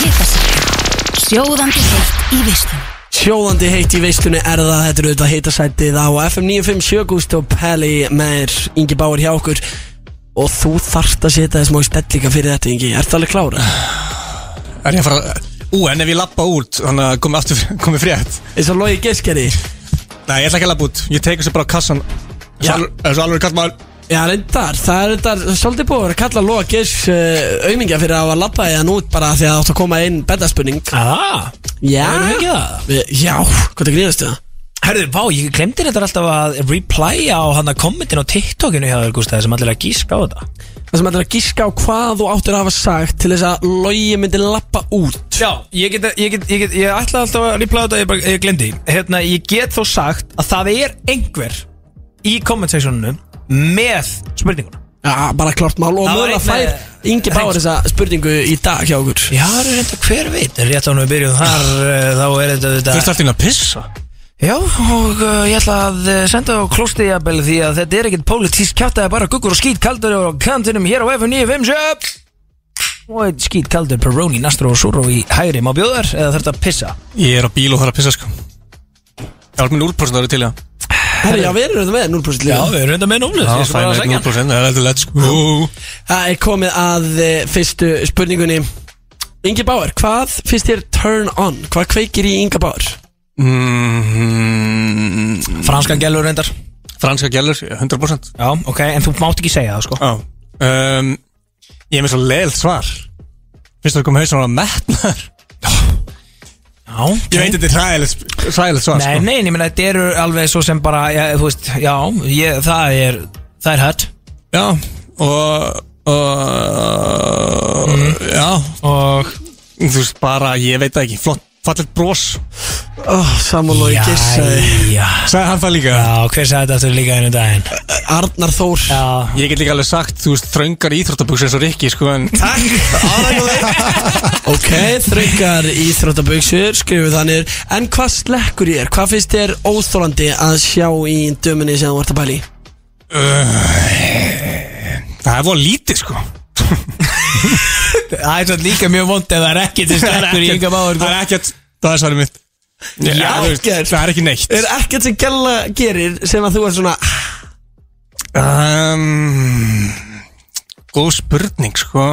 S1: Hitasætinu Sjóðandi heitt í veistlun
S3: Sjóðandi heitt í veistunni er það, þetta er auðvitað hitasætið á FM 957 Gústi og Pelli með Ingi Bauer hjá okkur og þú þarft að setja þess mjög stellika fyrir þetta Ingi, ertu alveg klára?
S2: er ég að fara ú, en ef ég lappa út þannig að komi aftur komi frétt
S3: Eins og logi geskeri
S2: nei, ég ætla ekki að lappa út ég teikur sér bara á kassan
S3: Já.
S2: þessu alveg kallmaður
S3: Já, reyndar, það er reyndar svolítið búið að vera að kalla Lóa Geirs uh, aumingja fyrir að hafa labba í hann út bara því að það átt að koma inn bettaspunning
S4: Ah,
S3: Já,
S4: það er ekki það
S3: Við- Já, hvað það gríðast það?
S4: Herðu, vá, ég glemdi þetta alltaf að replya á hana kommentin á TikTokinu hjá þér, Gústa, sem allir að gíska á þetta
S3: Það sem ætlar að gíska á hvað þú áttir að hafa sagt til þess að Lói myndi labba út
S4: Já, ég get, ég get, ég get, ég ætlaði alltaf að repláða þetta, ég bara, ég glemdi Hérna, ég get þó sagt að það er einhver í comment sectioninu með spurninguna
S3: Já, bara klart mál og
S4: Það var
S3: mögulega
S4: eitt með-
S3: fær Ingi Báar þessa spurningu í dag hjá okkur
S4: Já, það er reynda hver veit, en rétt ánum við byrjum þar, eh, þá er þetta
S2: Þú ert
S4: þetta
S2: alltaf inn að pissa
S4: Já, og uh, ég ætla að eh, senda á klóstiðjabel því að þetta er ekkert pólitísk kjátt, það er bara guggur og skýt kaldur og kantinum hér á F957 Og eitt skýt kaldur, peróni, nastró og súró í hægri, má bjóðar eða þarf þetta að pissa?
S2: Ég er á bíl og þarf að pissa sko Það var minn úrprosent árið til já
S3: Herri, já, við erum þetta með 0% líka
S4: við erum reynda með númlið,
S2: Það fæ mér eitt úrprosent, það er heldur lett sko
S3: Það er komið að eh, fyrstu spurningunni Ingi Báar, hvað finnst þér turn on? Hvað kveikir í Inga Báar?
S2: Mm,
S4: Franska gælur reyndar
S2: Franska gælur, 100%
S4: Já, ok, en þú mátt ekki segja það sko
S2: Já um, Ég er með svo leiðilt svar Fyrst að koma hausinn á að metnar
S4: Já, ok
S2: Ég veit sko. þetta er hræðilegt hræðilegt svar
S4: Nei,
S2: sko
S4: nei, ég meina, þetta eru alveg svo sem bara, já, þú veist, já, ég, það er, það er hætt
S2: Já, og, og Já,
S4: Mhm. Og
S2: þú veist bara, ég veit það ekki Flott, fallet brós
S3: Oh, Samuel og ég gissaði
S4: Jæja
S2: Sæði hann það líka
S4: Já, hver sagði þetta aftur líka einu daginn?
S3: Arnar Þór
S4: Já
S2: Ég get líka alveg sagt, þú veist, þröngar íþróttabuxur eins og Rikki sko en
S3: Ok, þröngar íþróttaböksur, skrifu þannig En hvað slekkur ég er? Hvað finnst þér óþólandi að sjá í dömunni sem þú vart að bæli?
S2: Það er voru lítið sko
S4: Það er svo líka mjög vond ef það er ekkert sem stelpur í sko. ynga máður
S2: Það er ekkert, það er svarið mitt Já, þú veist, Það er ekki neitt
S3: Er ekkert sem Gjalla gerir sem að þú er svona
S2: um, Góð spurning sko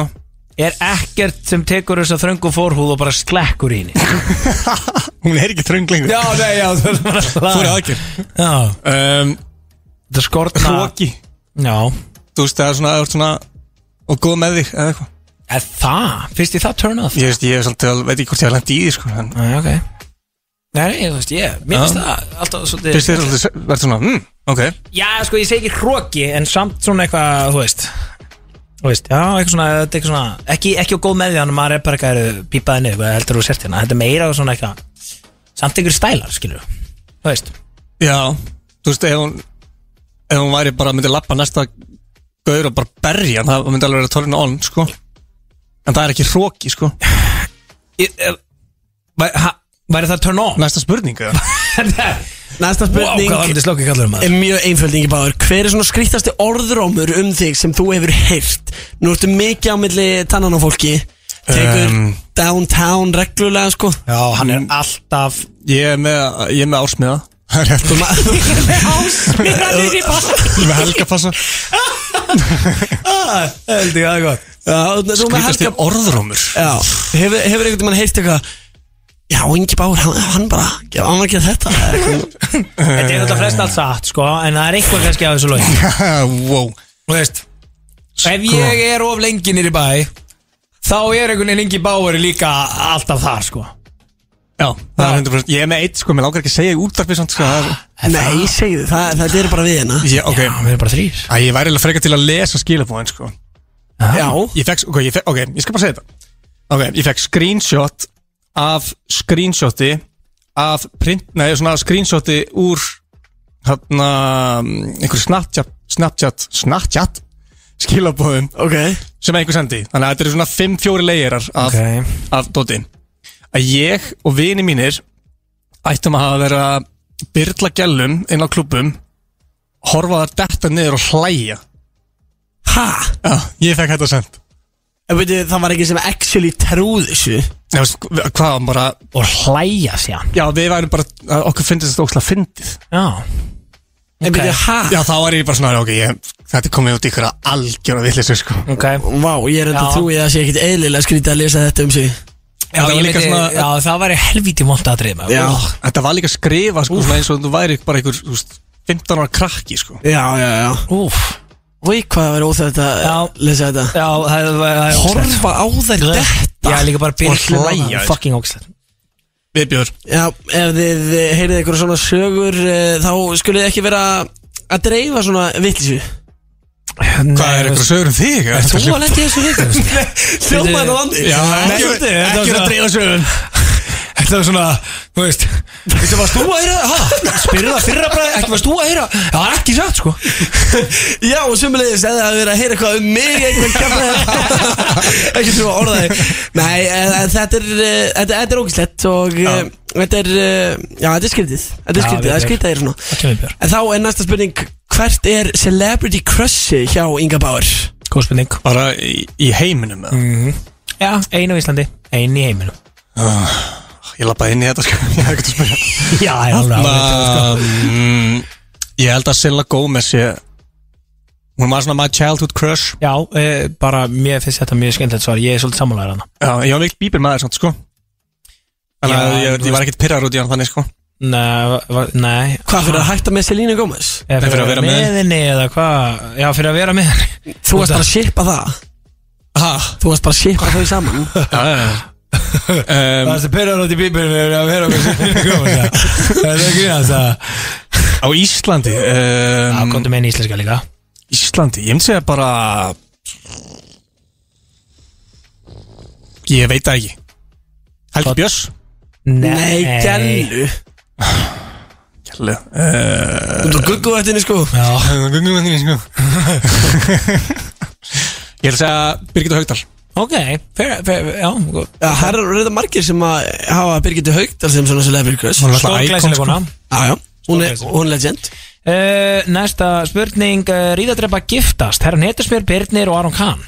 S4: Er ekkert sem tekur þess að þröngu fórhúð og bara slekkur í henni
S2: Hún er ekki þröng lengur
S4: Já, nei, já, þú erum bara að
S2: Fór
S4: slaga
S2: aðgjör
S4: Já,
S2: um,
S4: það skortna
S2: Hróki
S4: Já
S2: Þú veist, það er svona, það er svona Og góð með þig eða eitthvað
S4: Er það? Fyrst ég það turn off?
S2: Ég veist, ég er svolítið, veit ekki hvort ég hef lent í því sko en,
S4: Nei, ok Nei, ég, þú veist, ég, mér finnst það alltaf svolítið
S2: Fyrst þér svolítið, verður svona, mm, ok
S4: Já, sko, ég segi ekki hróki en samt svona eitthvað, þú veist Þú veist, já, eitthvað svona, þetta er eitthvað svona ekki, ekki á góð með því hann, maður er bara eitthvað pípaði niður, hvað heldur þú sért hérna, þetta er meira svona eitthvað, samt einhver stælar, skilur Þú veist,
S2: Já, þú veist, ef hún Ef hún væri bara, myndi lappa næsta Gaur og bara berja, hann, það myndi alveg vera tólinu on, sko En það er ekki hróki, sko
S4: ég, er, væ, ha, væri það turn on?
S2: Næsta spurning, eða?
S3: Næsta
S4: Wow,
S3: spurning
S4: hvað var þetta slóki kallar maður?
S3: er mjög einföld Ingi Báður Hver er svona skrýttasti orðrómur um þig sem þú hefur heyrt? Nú ertu mikið á milli tannan á fólki Tekur
S2: Um.
S3: downtown reglulega sko
S4: Já, hann er alltaf
S2: Ég er með, ég er með ásmiða Það er rétt.
S3: Þú ma-
S4: Smýraðir í bara
S2: Ég er með helgapassa
S4: Ah, Heldur, það er gott
S3: Já, þú þú með
S2: Skrítast
S3: helga
S2: ég orðrómur
S3: Já, hefur, hefur einhvern veginn heyrt eitthvað Já, Ingi Báður, hann, hann bara Hann var ekki að þetta eða eitthvað?
S4: Þetta er alltaf flest allt satt, sko, en það er eitthvað kannski af þessu lög
S2: wow.
S4: Þú veist Ef ég er of lengi nýri bæ Þá er einhvern veginn Ingi Báur líka alltaf þar sko
S2: Já, það er 100% Ég er með eitt, sko, mér lákar ekki að segja í útvarpi samt, sko það er-
S3: Nei, segðu, það, það er bara við hérna
S2: Ég, ok,
S4: við erum bara þrýr
S2: Æ, ég væri alveg frekar til að lesa skilabóðin, sko
S3: Já,
S2: ég fekk, ok, ég fekk, ok, ég skal bara segja þetta ok, ég fekk screenshot af screenshoti af print, nei, svona screenshoti úr hann einhver Snapchat Snapchat, Snapchat skilabóðum
S3: ok
S2: sem einhver sendi, þannig að þetta eru svona 5-4 leirar af,
S4: Ok.
S2: af doti að ég og vini mínir ættum að hafa verið að byrla gælum inn á klubbum horfa þar detta niður og hlæja
S3: Ha?
S2: já, ég fekk þetta send
S3: En veitu, það var ekki sem actually trúð þessu
S2: Já, sko, hvað var bara
S4: Og hlæja sér
S2: Já, við værum bara, að okkur fyndist þetta ókslega fyndið
S4: Já
S3: En
S4: Ok.
S3: veitu, ha?
S2: Já, þá var ég bara svona, ok, ég, þetta er komið út í ykkur að algjöra villis, sko
S4: Ok
S3: Vá, ég er enda
S4: Já.
S3: trúið að það sé ekkit eðlilega skrítið að lesa þetta um sig
S4: Já,
S2: var
S4: ég
S2: líka
S4: myndi,
S2: svona-
S4: já það væri helvíti vond aðrið með
S3: Já.
S2: Þetta var líka skrifa, sko, svona eins og þú væri bara ykkur, þú veist, 15 ára krakki, sko
S3: Já, já, já
S4: Úf
S3: Úi, hvað það verið óþægt að
S4: Já.
S3: lesa þetta
S4: Já, það er
S3: Horfa á þær detta
S4: Já, líka bara byrja
S2: Og hlæja, sko.
S4: Fucking ógstæð
S2: Viðbjör
S3: Já, ef þið eh, heyrið eitthvað svona sögur eh, Þá skulle þið ekki vera að dreifa svona vitlisu
S2: Hvað er ykkur að sögur um þig? Er
S4: Þú var lendið þessu líka
S3: Hljómaði á landi
S2: Já,
S4: Ekki-
S2: ekki
S4: ekki
S2: verið
S4: verið
S2: að
S4: að
S2: dreifa sögum
S4: Þetta var svona, þú veist Þetta varst þú að heyra það, ha? Spyrðu það fyrra bara, ekki varst þú að heyra það Það er ekki satt, sko
S3: Já, og sömulegis eða að vera að heyra eitthvað um mig Eitthvað kemur Ekki svo orðaði Nei, eh, eh, þetta er, eh, þetta, þetta er ógislegt Og já. þetta er, eh, já, þetta er skrítið Þetta er
S4: Já, við
S3: skrítið, það er
S4: erum.
S3: skrítið að er svona
S4: Það kemur björ
S3: En þá er næsta spurning Hvert er celebrity crushi hjá Inga Bauer?
S4: Góð spurning
S2: Bara í, í heiminum, eða
S4: Já, einu í Íslandi, einu í heiminum
S2: Ég lappaði inn í þetta, sko, ég hef ekkert að spyrja
S4: Já, ég er alveg
S2: um, Ég held að Silla Gómez, ég Hún var svona my childhood crush
S4: Já, e, bara mér finnst þetta mjög skemmtilegt svar Ég er svolítið sammálaður hana
S2: Já, ég var mikil bíbel maður samt sko Þannig
S4: Já,
S2: að ég,
S4: þú
S2: ég var ekkert pirrar út í hann þannig sko
S4: Nei, va- nei
S3: Hvað fyrir að hætta með Selena Gomez?
S4: Eða
S2: Nei, fyrir að vera með
S4: henni eða hvað Já, fyrir að vera með henni
S3: Þú varst bara að shipa það
S2: Ha?
S3: Þú varst bara að shipa þau saman
S2: Já, já, já um,
S4: er sem perra rátt í bíbelinu er að vera með sér Það er ekki að það
S2: Á Íslandi
S4: Já,
S2: um,
S4: komdu með henni íslenska líka
S2: Íslandi, ég myndi segja bara Ég veit það ekki Helgi
S4: Hvað-
S2: Björns
S3: Nei, gælu
S2: Kjærlega
S3: Þú ert að guggu þetta inni sko
S4: Já,
S2: uh, Ég ætla að segja Birgitta Haugdal
S4: ok, fyrir, fyrir, já gó-
S3: Já, það eru reynda margir sem að hafa Birgitti Haugdal sem svona celebrity crush
S2: Hún er alltaf
S4: Stór
S2: icon,
S4: glæsileg
S2: sko.
S4: kona
S3: Já, já, hún er, hún er legend
S4: Eh, uh, Næsta spurning uh, Ríðadrepa giftast Herran Hetismér, Birnir og Aron Kahn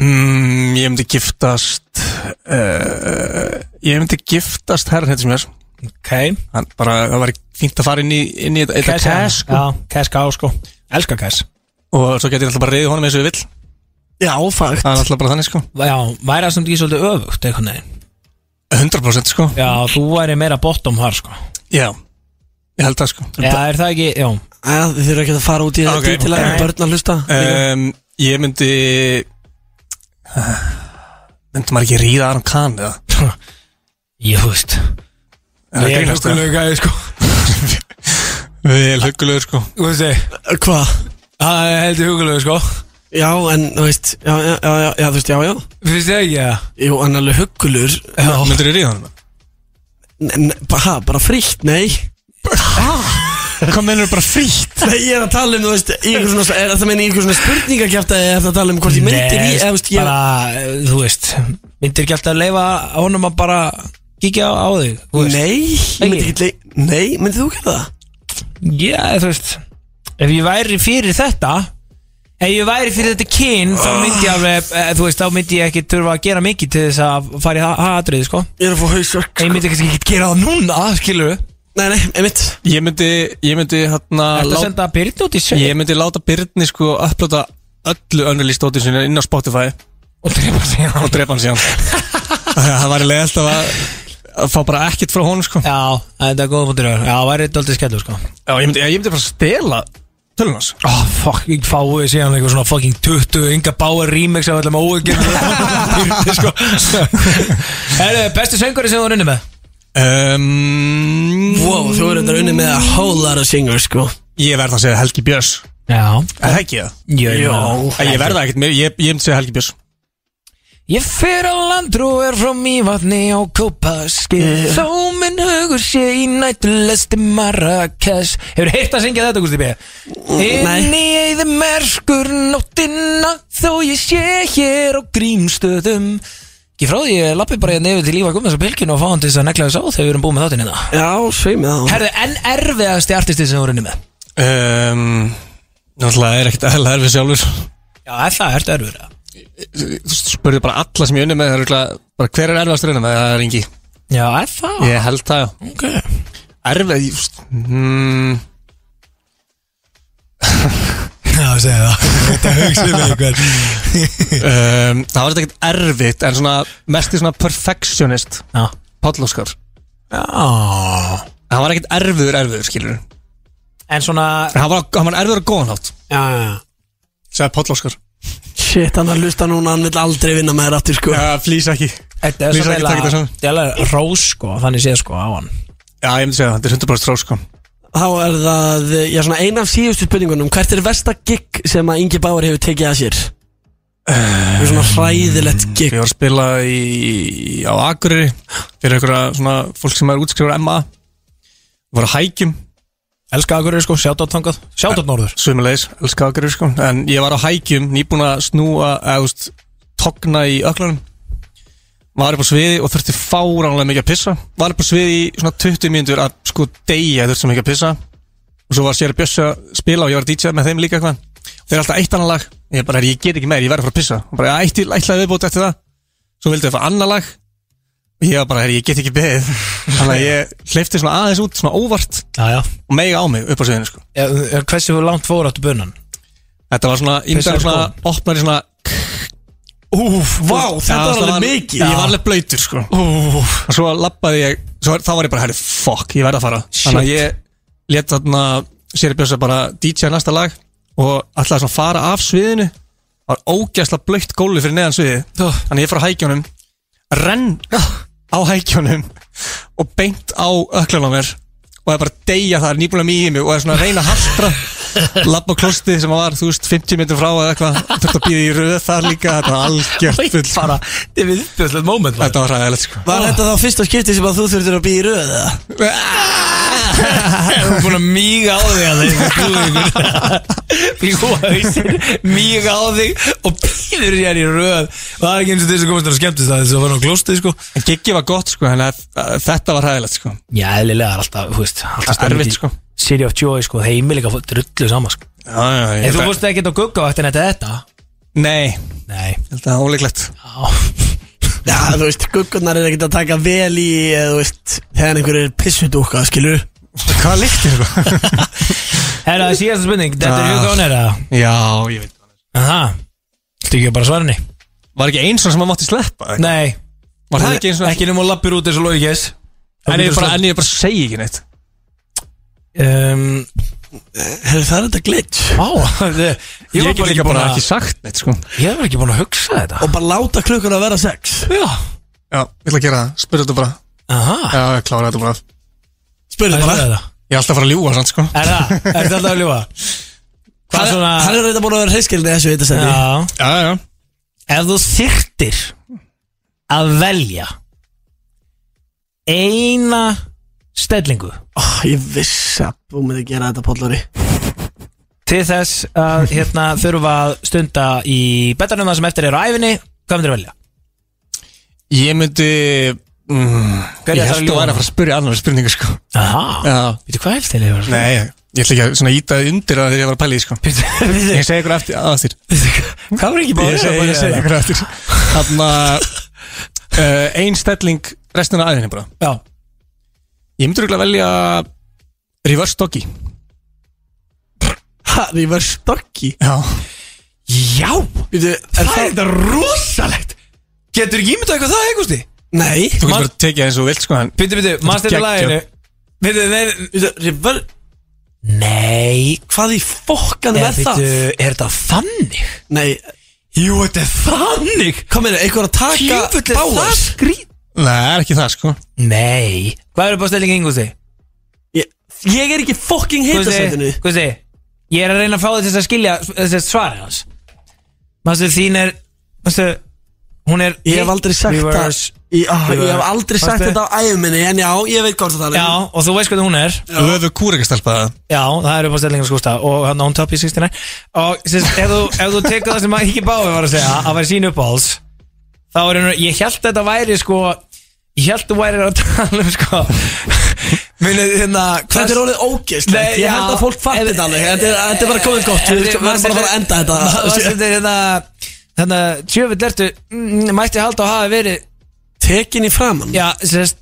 S2: mm, Ég myndi giftast uh, Ég myndi giftast herran hérna sem er
S4: Ok
S2: Hann bara, það var fínt að fara inn í, inn í þetta
S4: Cash á.
S2: cash sko.
S4: Já, cash á sko Elskar cash
S2: Og svo get ég alltaf bara reyði honum eins og ég vill
S3: Já, fakt
S2: Það er alltaf bara þannig sko
S4: Já, væri það sem ekki svolítið öfugt einhvern veginn
S2: 100% sko
S4: Já, þú væri meira bottom þar sko
S2: Já, ég held það sko
S4: Já, er það ekki, já
S3: Æja, þið þurfum ekki að fara út í
S2: Ok.
S3: þetta til að
S2: Ok.
S3: börn að hlusta
S2: um, Ég myndi Myndi maður ekki ríða Aron Kahn eða?
S4: Ég veist
S2: Er það grínast það?
S4: gæði sko
S2: Vel hugulegur sko
S4: Þú veist þið
S3: Eh, Hvað?
S4: Það er heldur hugulegu sko
S3: Já, en þú veist, já, já, já, já, já, þú veist, já, já
S4: Finnst þið ekki að
S3: Jú, en alveg huggulur
S2: Myndir þið ríða hann?
S3: Hæ, bara frítt, nei
S2: Hvað mennur bara frítt?
S3: Nei, ég er að tala um, þú veist, í einhver svona, er það meina í einhver svona spurningakjæft eða er það að tala um hvort ég myndir í, eða, þú veist, ég
S4: bara, eh, þú veist Myndir ekki alltaf að leifa honum að bara kíkja á, á þig þú veist.
S3: Nei, ég myndi ekki leik Nei, myndið þú gera það?
S4: Já, eh, þú veist Ef ég væri fyrir þetta Ef ég væri fyrir þetta kyn Þá myndi ég alveg, eh, þú veist, þá myndi ég ekki Þurfa að gera mikið til þess að fara í ha- hatrið, sko
S3: Ég er að fá hausverk
S4: En ég myndi kannski ekki gera það núna, skilur
S3: Nei, nei, einmitt
S2: Ég myndi, ég myndi hérna
S4: Þetta
S2: lát-
S4: senda Birnu út í sjö
S2: Ég myndi láta Byrni sko upplota öllu önnulístótið sinni inn á Spotify
S4: Og drepa sig á
S2: og drepa hann síðan Það var í leið alltaf að, að fá bara ekkert frá honum sko
S4: Já, þetta er góða punktur Já, það væri dóltið skellur, sko
S2: Já, ég myndi, ég myndi bara stela tölun hans
S4: Oh, fuck, ég fái síðan eitthvað svona fucking 20 Inga Bauer remix af öllum óegjörnum sko. Herðu, bestu söngari sem þú runni með?
S2: um,
S3: Wow, þú eru þetta unni með a whole lot of singers, sko
S2: Ég verð að segja Helgi Björns
S4: Já
S2: Er það ekki það?
S4: Jó
S2: Æ, Ég verða ekkert meir, ég, ég myndi segja Helgi Björns
S4: Ég fer á landrú er frá mývatni á Kópaski Þó minn hugur sé í nættulesti Marrakesh Hefur heyrt að syngja þetta, Gusti B? Inn í eða merskur nóttina Þó ég sé hér á grímstöðum Ég frá því, ég lappi bara nefnir til Ívar Gummins og Bilkinu og fá hann til þess að negla þess á þegar við erum búið með þáttinn hérna
S3: Já, sveim ég það
S4: Herðu, en erfiðasti artisti sem þú runni með?
S2: um, Náttúrulega er ekkert eðla erfið sjálfur
S4: Já, er það, ertu erfiður það?
S2: Þú spurði bara alla sem ég unni með það er örugglega bara, Hver er erfiðast raunin með? Það er engi
S4: Já, er það?
S2: Ég held það, já
S4: Ok
S2: Erfið, just, mm,
S4: Já, segja það Þetta hugsa með einhver
S2: um, Það var þetta ekkert erfitt En svona, mest í svona perfectionist
S4: Já
S2: Páll Óskar
S4: Já
S2: Hann var ekkert erfiður erfiður, skilur
S4: En svona
S2: Hann var, hann var erfiður á góðan hátt
S4: Já, já, já
S2: Sæði Páll Óskar
S3: Shit, hann að hlusta núna, hann vil aldrei vinna með þér aftur, sko
S2: Já, flýs ekki
S4: Þetta eh, er
S2: Lýsa
S4: svona
S2: ekki taka þetta
S4: eiginlega-
S2: saman.
S4: þetta er alveg rós sko Þannig séð sko á hann
S2: Já, ég myndi segja það, þetta er 100% tró, sko
S3: Þá er það, já, svona ein af síðustu spurningunum Hvert er versta gig sem að Ingi Bauer hefur tekið að sér? Uh, svona hræðilegt gig
S2: Eh, Ég var að spila í, á Akureyri Fyrir einhverja svona fólk sem er útskrifur MA Var að hækjum
S4: Elska Akureyri sko, sjátt á tangað Sjátt á norður
S2: Sumulegis, elska Akureyri, sko En ég var á hækjum, nýbúin að snúa Eða, þú veist, togna í öklanum Var upp á sviði og þurfti fáránlega mikið að pissa Var upp á sviði í svona 20 mínútur Að sko deyja þurfti mikið að pissa Og svo var sér Bjöss að spila og ég var að DJ með þeim líka eitthvað Þeir eru alltaf eitt annan lag Ég bara, "Herri, ég get ekki meir, ég verður að fara að pissa Og bara, eitt ætlaði viðbót eftir það Svo vildu þau fá annan lag Og ég var bara, "Herri, ég get ekki beðið Þannig að ég hleyfti svona aðeins út, svona óvart
S4: Já, já
S2: Og mega á mig upp á sviðinu sko
S4: ja, eh, Hversu langt fór áttu bunan?
S2: Þetta var svona, ég myndi
S4: Pissaði
S2: að svona opnar í svona
S3: Úf, vá,
S2: Já,
S3: þetta var
S2: það
S3: alveg mikið
S2: Ég var alveg blöytur sko Úf. Og svo lappaði ég, svo, þá var ég bara herri, fuck, ég verð að fara Þannig að ég let þarna Sér Björsa bara DJ næsta lag Og ætlaði svona að fara af sviðinu Það var ógæsla blöytt gólu fyrir neðan sviði Þannig að ég fór að hækjónum Renn á hækjónum Og beint á öklan á mér Og það er bara að deyja það er nýbúinlega mýjum Og það er svona að reyna að haltra Lapp á klostið sem var, þú veist, 50 metrum frá eða eitthvað, þurfti að býða í röð þar líka Þetta var algjört full
S4: Bara, þetta er viðbjöðslegt moment
S2: Þetta var ræðilegt sko
S3: Var þetta þá fyrsta skipti sem að þú þurftir að býja í röð, eða?
S2: Þetta
S4: Þú er búin að míga á þig að það Þú hausir Míga á þig Og býður sér í röð Og það er ekki eins og þess að komast að skemmtist það Þess að var hann glóstið sko
S2: En giggi var gott sko, þannig að að þetta var hæðilegt sko
S4: Já, eðlilega er alltaf, þú veist Alltaf
S2: Það er
S4: stemning
S2: erfitt,
S4: í
S2: sko.
S4: City of Joy sko, heimilega drullu saman sko
S2: Já, já,
S4: En þú fórst ekki á guggavættin eftir þetta?
S2: Nei,
S4: Nei
S2: ég held að það er óleiklegt
S3: Já, þú veist, guggunar er ekkert að taka vel í eða, þú veist, þegar einhver er pissudúka, skilur
S2: Hvað líktir sko?
S4: Herra, það er síðasta spurning, þetta er
S2: Ah.
S4: Hugo Ánir eða?
S2: Já, ég veit
S4: Aha, þetta ekki bara svarinni
S2: Var ekki eins og sem að mátti sleppa? eða?
S4: Nei,
S2: Var það ekki eins og
S4: ekki nema að lappir út eins og logið gæs
S2: En ég bara, en ég bara segi ekki neitt
S4: um,
S3: Herru, það er þetta glitch
S4: Vá, ég,
S2: Ég,
S4: var bara
S2: get líka
S4: ekki búin
S2: bara
S4: að
S2: ekki sagt neitt sko
S4: Ég var ekki búin að hugsa þetta
S3: Og bara láta klukkur að vera sex
S4: Já
S2: Já, ég ætla að gera það, spyrðu þetta bara
S4: Aha
S2: Já, ég klára þetta bara
S3: Spurðu
S4: Það er
S3: bara
S4: þetta
S2: Ég er alltaf að fara að ljúga sann sko
S4: Er það? Er þetta alltaf að ljúa? Hvað
S3: Hann
S4: svona
S3: hann er reynda búin að vera hreyskilni þessu þetta sendi
S4: Já
S2: Já, já
S4: Ef þú þyrtir að velja eina stellingu
S3: Ó, Ah, Ég vissi að þú myndi gera þetta póllari
S4: til þess að hérna þurfa að stunda í betanum það sem eftir er á æfinni hvað myndir að velja?
S2: Ég myndi mm,
S4: Hverju ætlarðu
S2: Ég
S4: að
S2: held að
S4: ljúga?
S2: væri að fara að spyrja annar spurningu sko
S4: Aha
S2: Já
S4: Býtu hvað helst til ég var að
S2: Nei, ég ætla ekki að svona íta undir að þegar ég var að pæla í því, sko
S4: Býtu
S2: Ég segi ykkur eftir, að þér
S4: Hvað var ekki búin
S2: Ég segi, ég segi ykkur eftir Þannig að uh, Ein stelling restina aðinni bara
S4: Já
S2: Ég myndi rúglega velja Reverse doggy
S3: Hann ég var stokki
S2: Já
S4: Já
S3: Býtu,
S4: Það
S3: er
S4: er
S3: það?
S4: þetta rosalegt Getur ekki ímyndað eitthvað það einhversti?
S3: Nei
S2: Þú getur
S4: Man-
S2: bara að tekið eins og þú vilt sko en
S4: Býtu, býtu, mannst þetta
S2: geggjað.
S4: laginu Býtu, nei
S3: Býtu, rever,
S4: Nei
S3: hvað í fokkan
S4: Nei,
S3: er það?
S4: býtu, er þetta þannig?
S3: Nei,
S4: Jú, þetta er þannig
S3: hvað meina, einhver að taka
S4: Djöfull er það
S3: báðars?
S4: skrít
S2: Nei, það er ekki það sko
S4: Nei Hvað eru bara stellingi einhversti?
S3: Ég, ég er ekki fokking hitasendinu
S4: Guðsti, Guðsti, ég er að reyna að fá þig til þess að skilja þess að svara hans Mastu þín er Mastu, hún er
S3: Ég hef aldrei sagt það
S4: Reverse.
S3: Ég á, ég hef aldrei sagt
S4: Varstu?
S3: þetta á æfuminni En já, ég veit hvort það er
S4: Já, og þú veist hvað hún er
S2: Þú hefur kúrekastelpa það
S4: Já, það eru bara stellingar skústa og hérna, hann on top í 69 og sérst, ef þú, ef þú tekur það sem ekki báði var að segja að væri sín uppáhalds þá er hann, ég held þetta væri sko ég held þú væri að tala um sko minnið hérna
S3: Þetta er orðið ógeðslegt
S4: Nei,
S3: Ég
S4: já.
S3: held að fólk fatti
S4: Ef-
S3: þetta alveg Þetta er- þetta er bara komið gott Við við erum bara að fara að enda þetta
S4: Þetta er hérna Þannig að tjöfull ertu mm, Mætti halda að hafa verið
S3: Tekin í framann
S4: Já, sérst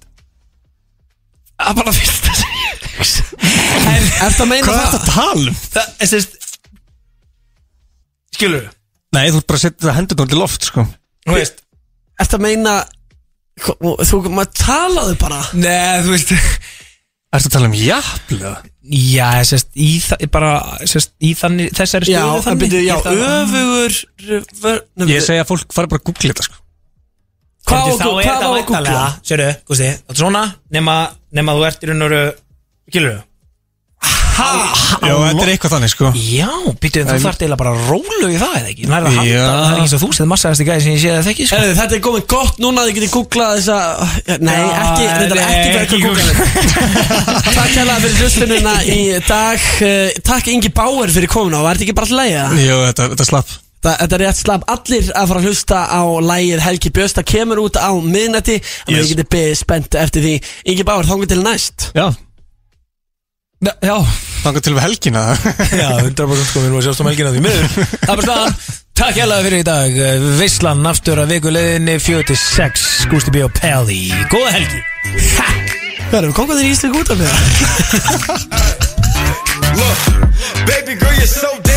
S4: Að bara fyrst að segja En
S3: Ertu að meina
S2: Hvað er
S3: það?
S2: þetta að tala um?
S4: það, sérst Skilur
S2: Nei, þú ert bara að setja hendur tónlega loft sko
S4: Þú veist
S3: Ertu að meina Hva- Þú, maður talaðu bara
S4: Nei, þú veist
S2: Ertu að tala um jafnlega?
S4: Já, sérst Í það, bara Sérst, í þannig Þessari
S3: Já,
S4: stöðu
S3: en
S4: þannig
S3: byrju,
S4: Í
S3: já,
S4: það-
S3: öfugur rever- nei,
S2: Ég
S3: byrju,
S2: segi að fólk fari bara að googla þetta sko
S4: Þá
S3: Hvað á að-
S4: er
S3: hvað á
S4: þetta
S3: að googla?
S4: væntalega Sérðu, gústi Þetta er svona Nema, nema þú ert í raun og veru Skilur
S2: Já, þetta er eitthvað þannig sko
S4: Já, býtu, en þú þarft eiginlega bara að rólu í það eða ekki Nærða að
S2: Já.
S4: halda, það er ekki eins og þú sem massaðast í gæði sem ég sé að það þekki sko.
S3: Herðu, Þetta er komið gott núna Þið getið googlað þessa Nei,
S4: Já,
S3: ekki, þetta er
S4: nei,
S3: ekki fyrir
S4: ekki
S3: að googla þetta. Takk hella fyrir hlustununa í dag Eh, Takk Ingi Báer fyrir komuna Var þetta ekki bara alltaf leiða?
S2: Jú, þetta, þetta slapp
S3: Þa, þetta er rétt slapp allir að fara að hlusta á lægið Helgi Björns, það kemur út á miðnætti þannig að
S2: Yes.
S3: ég geti beðið spennt eftir því Ingi Báður, þangum til næst
S2: Já,
S4: Já, já,
S2: þangar til við helgina
S4: já, 100% sko, við erum að sjást um helgina því miður Það er bara staðan, takk hérlega fyrir í dag Visslan aftur að vikuleginni 46, Gústi B. og Pelli Góða helgi
S3: Hvað erum við kongaðir í Ísleik út af það?
S7: Look, baby girl, you're so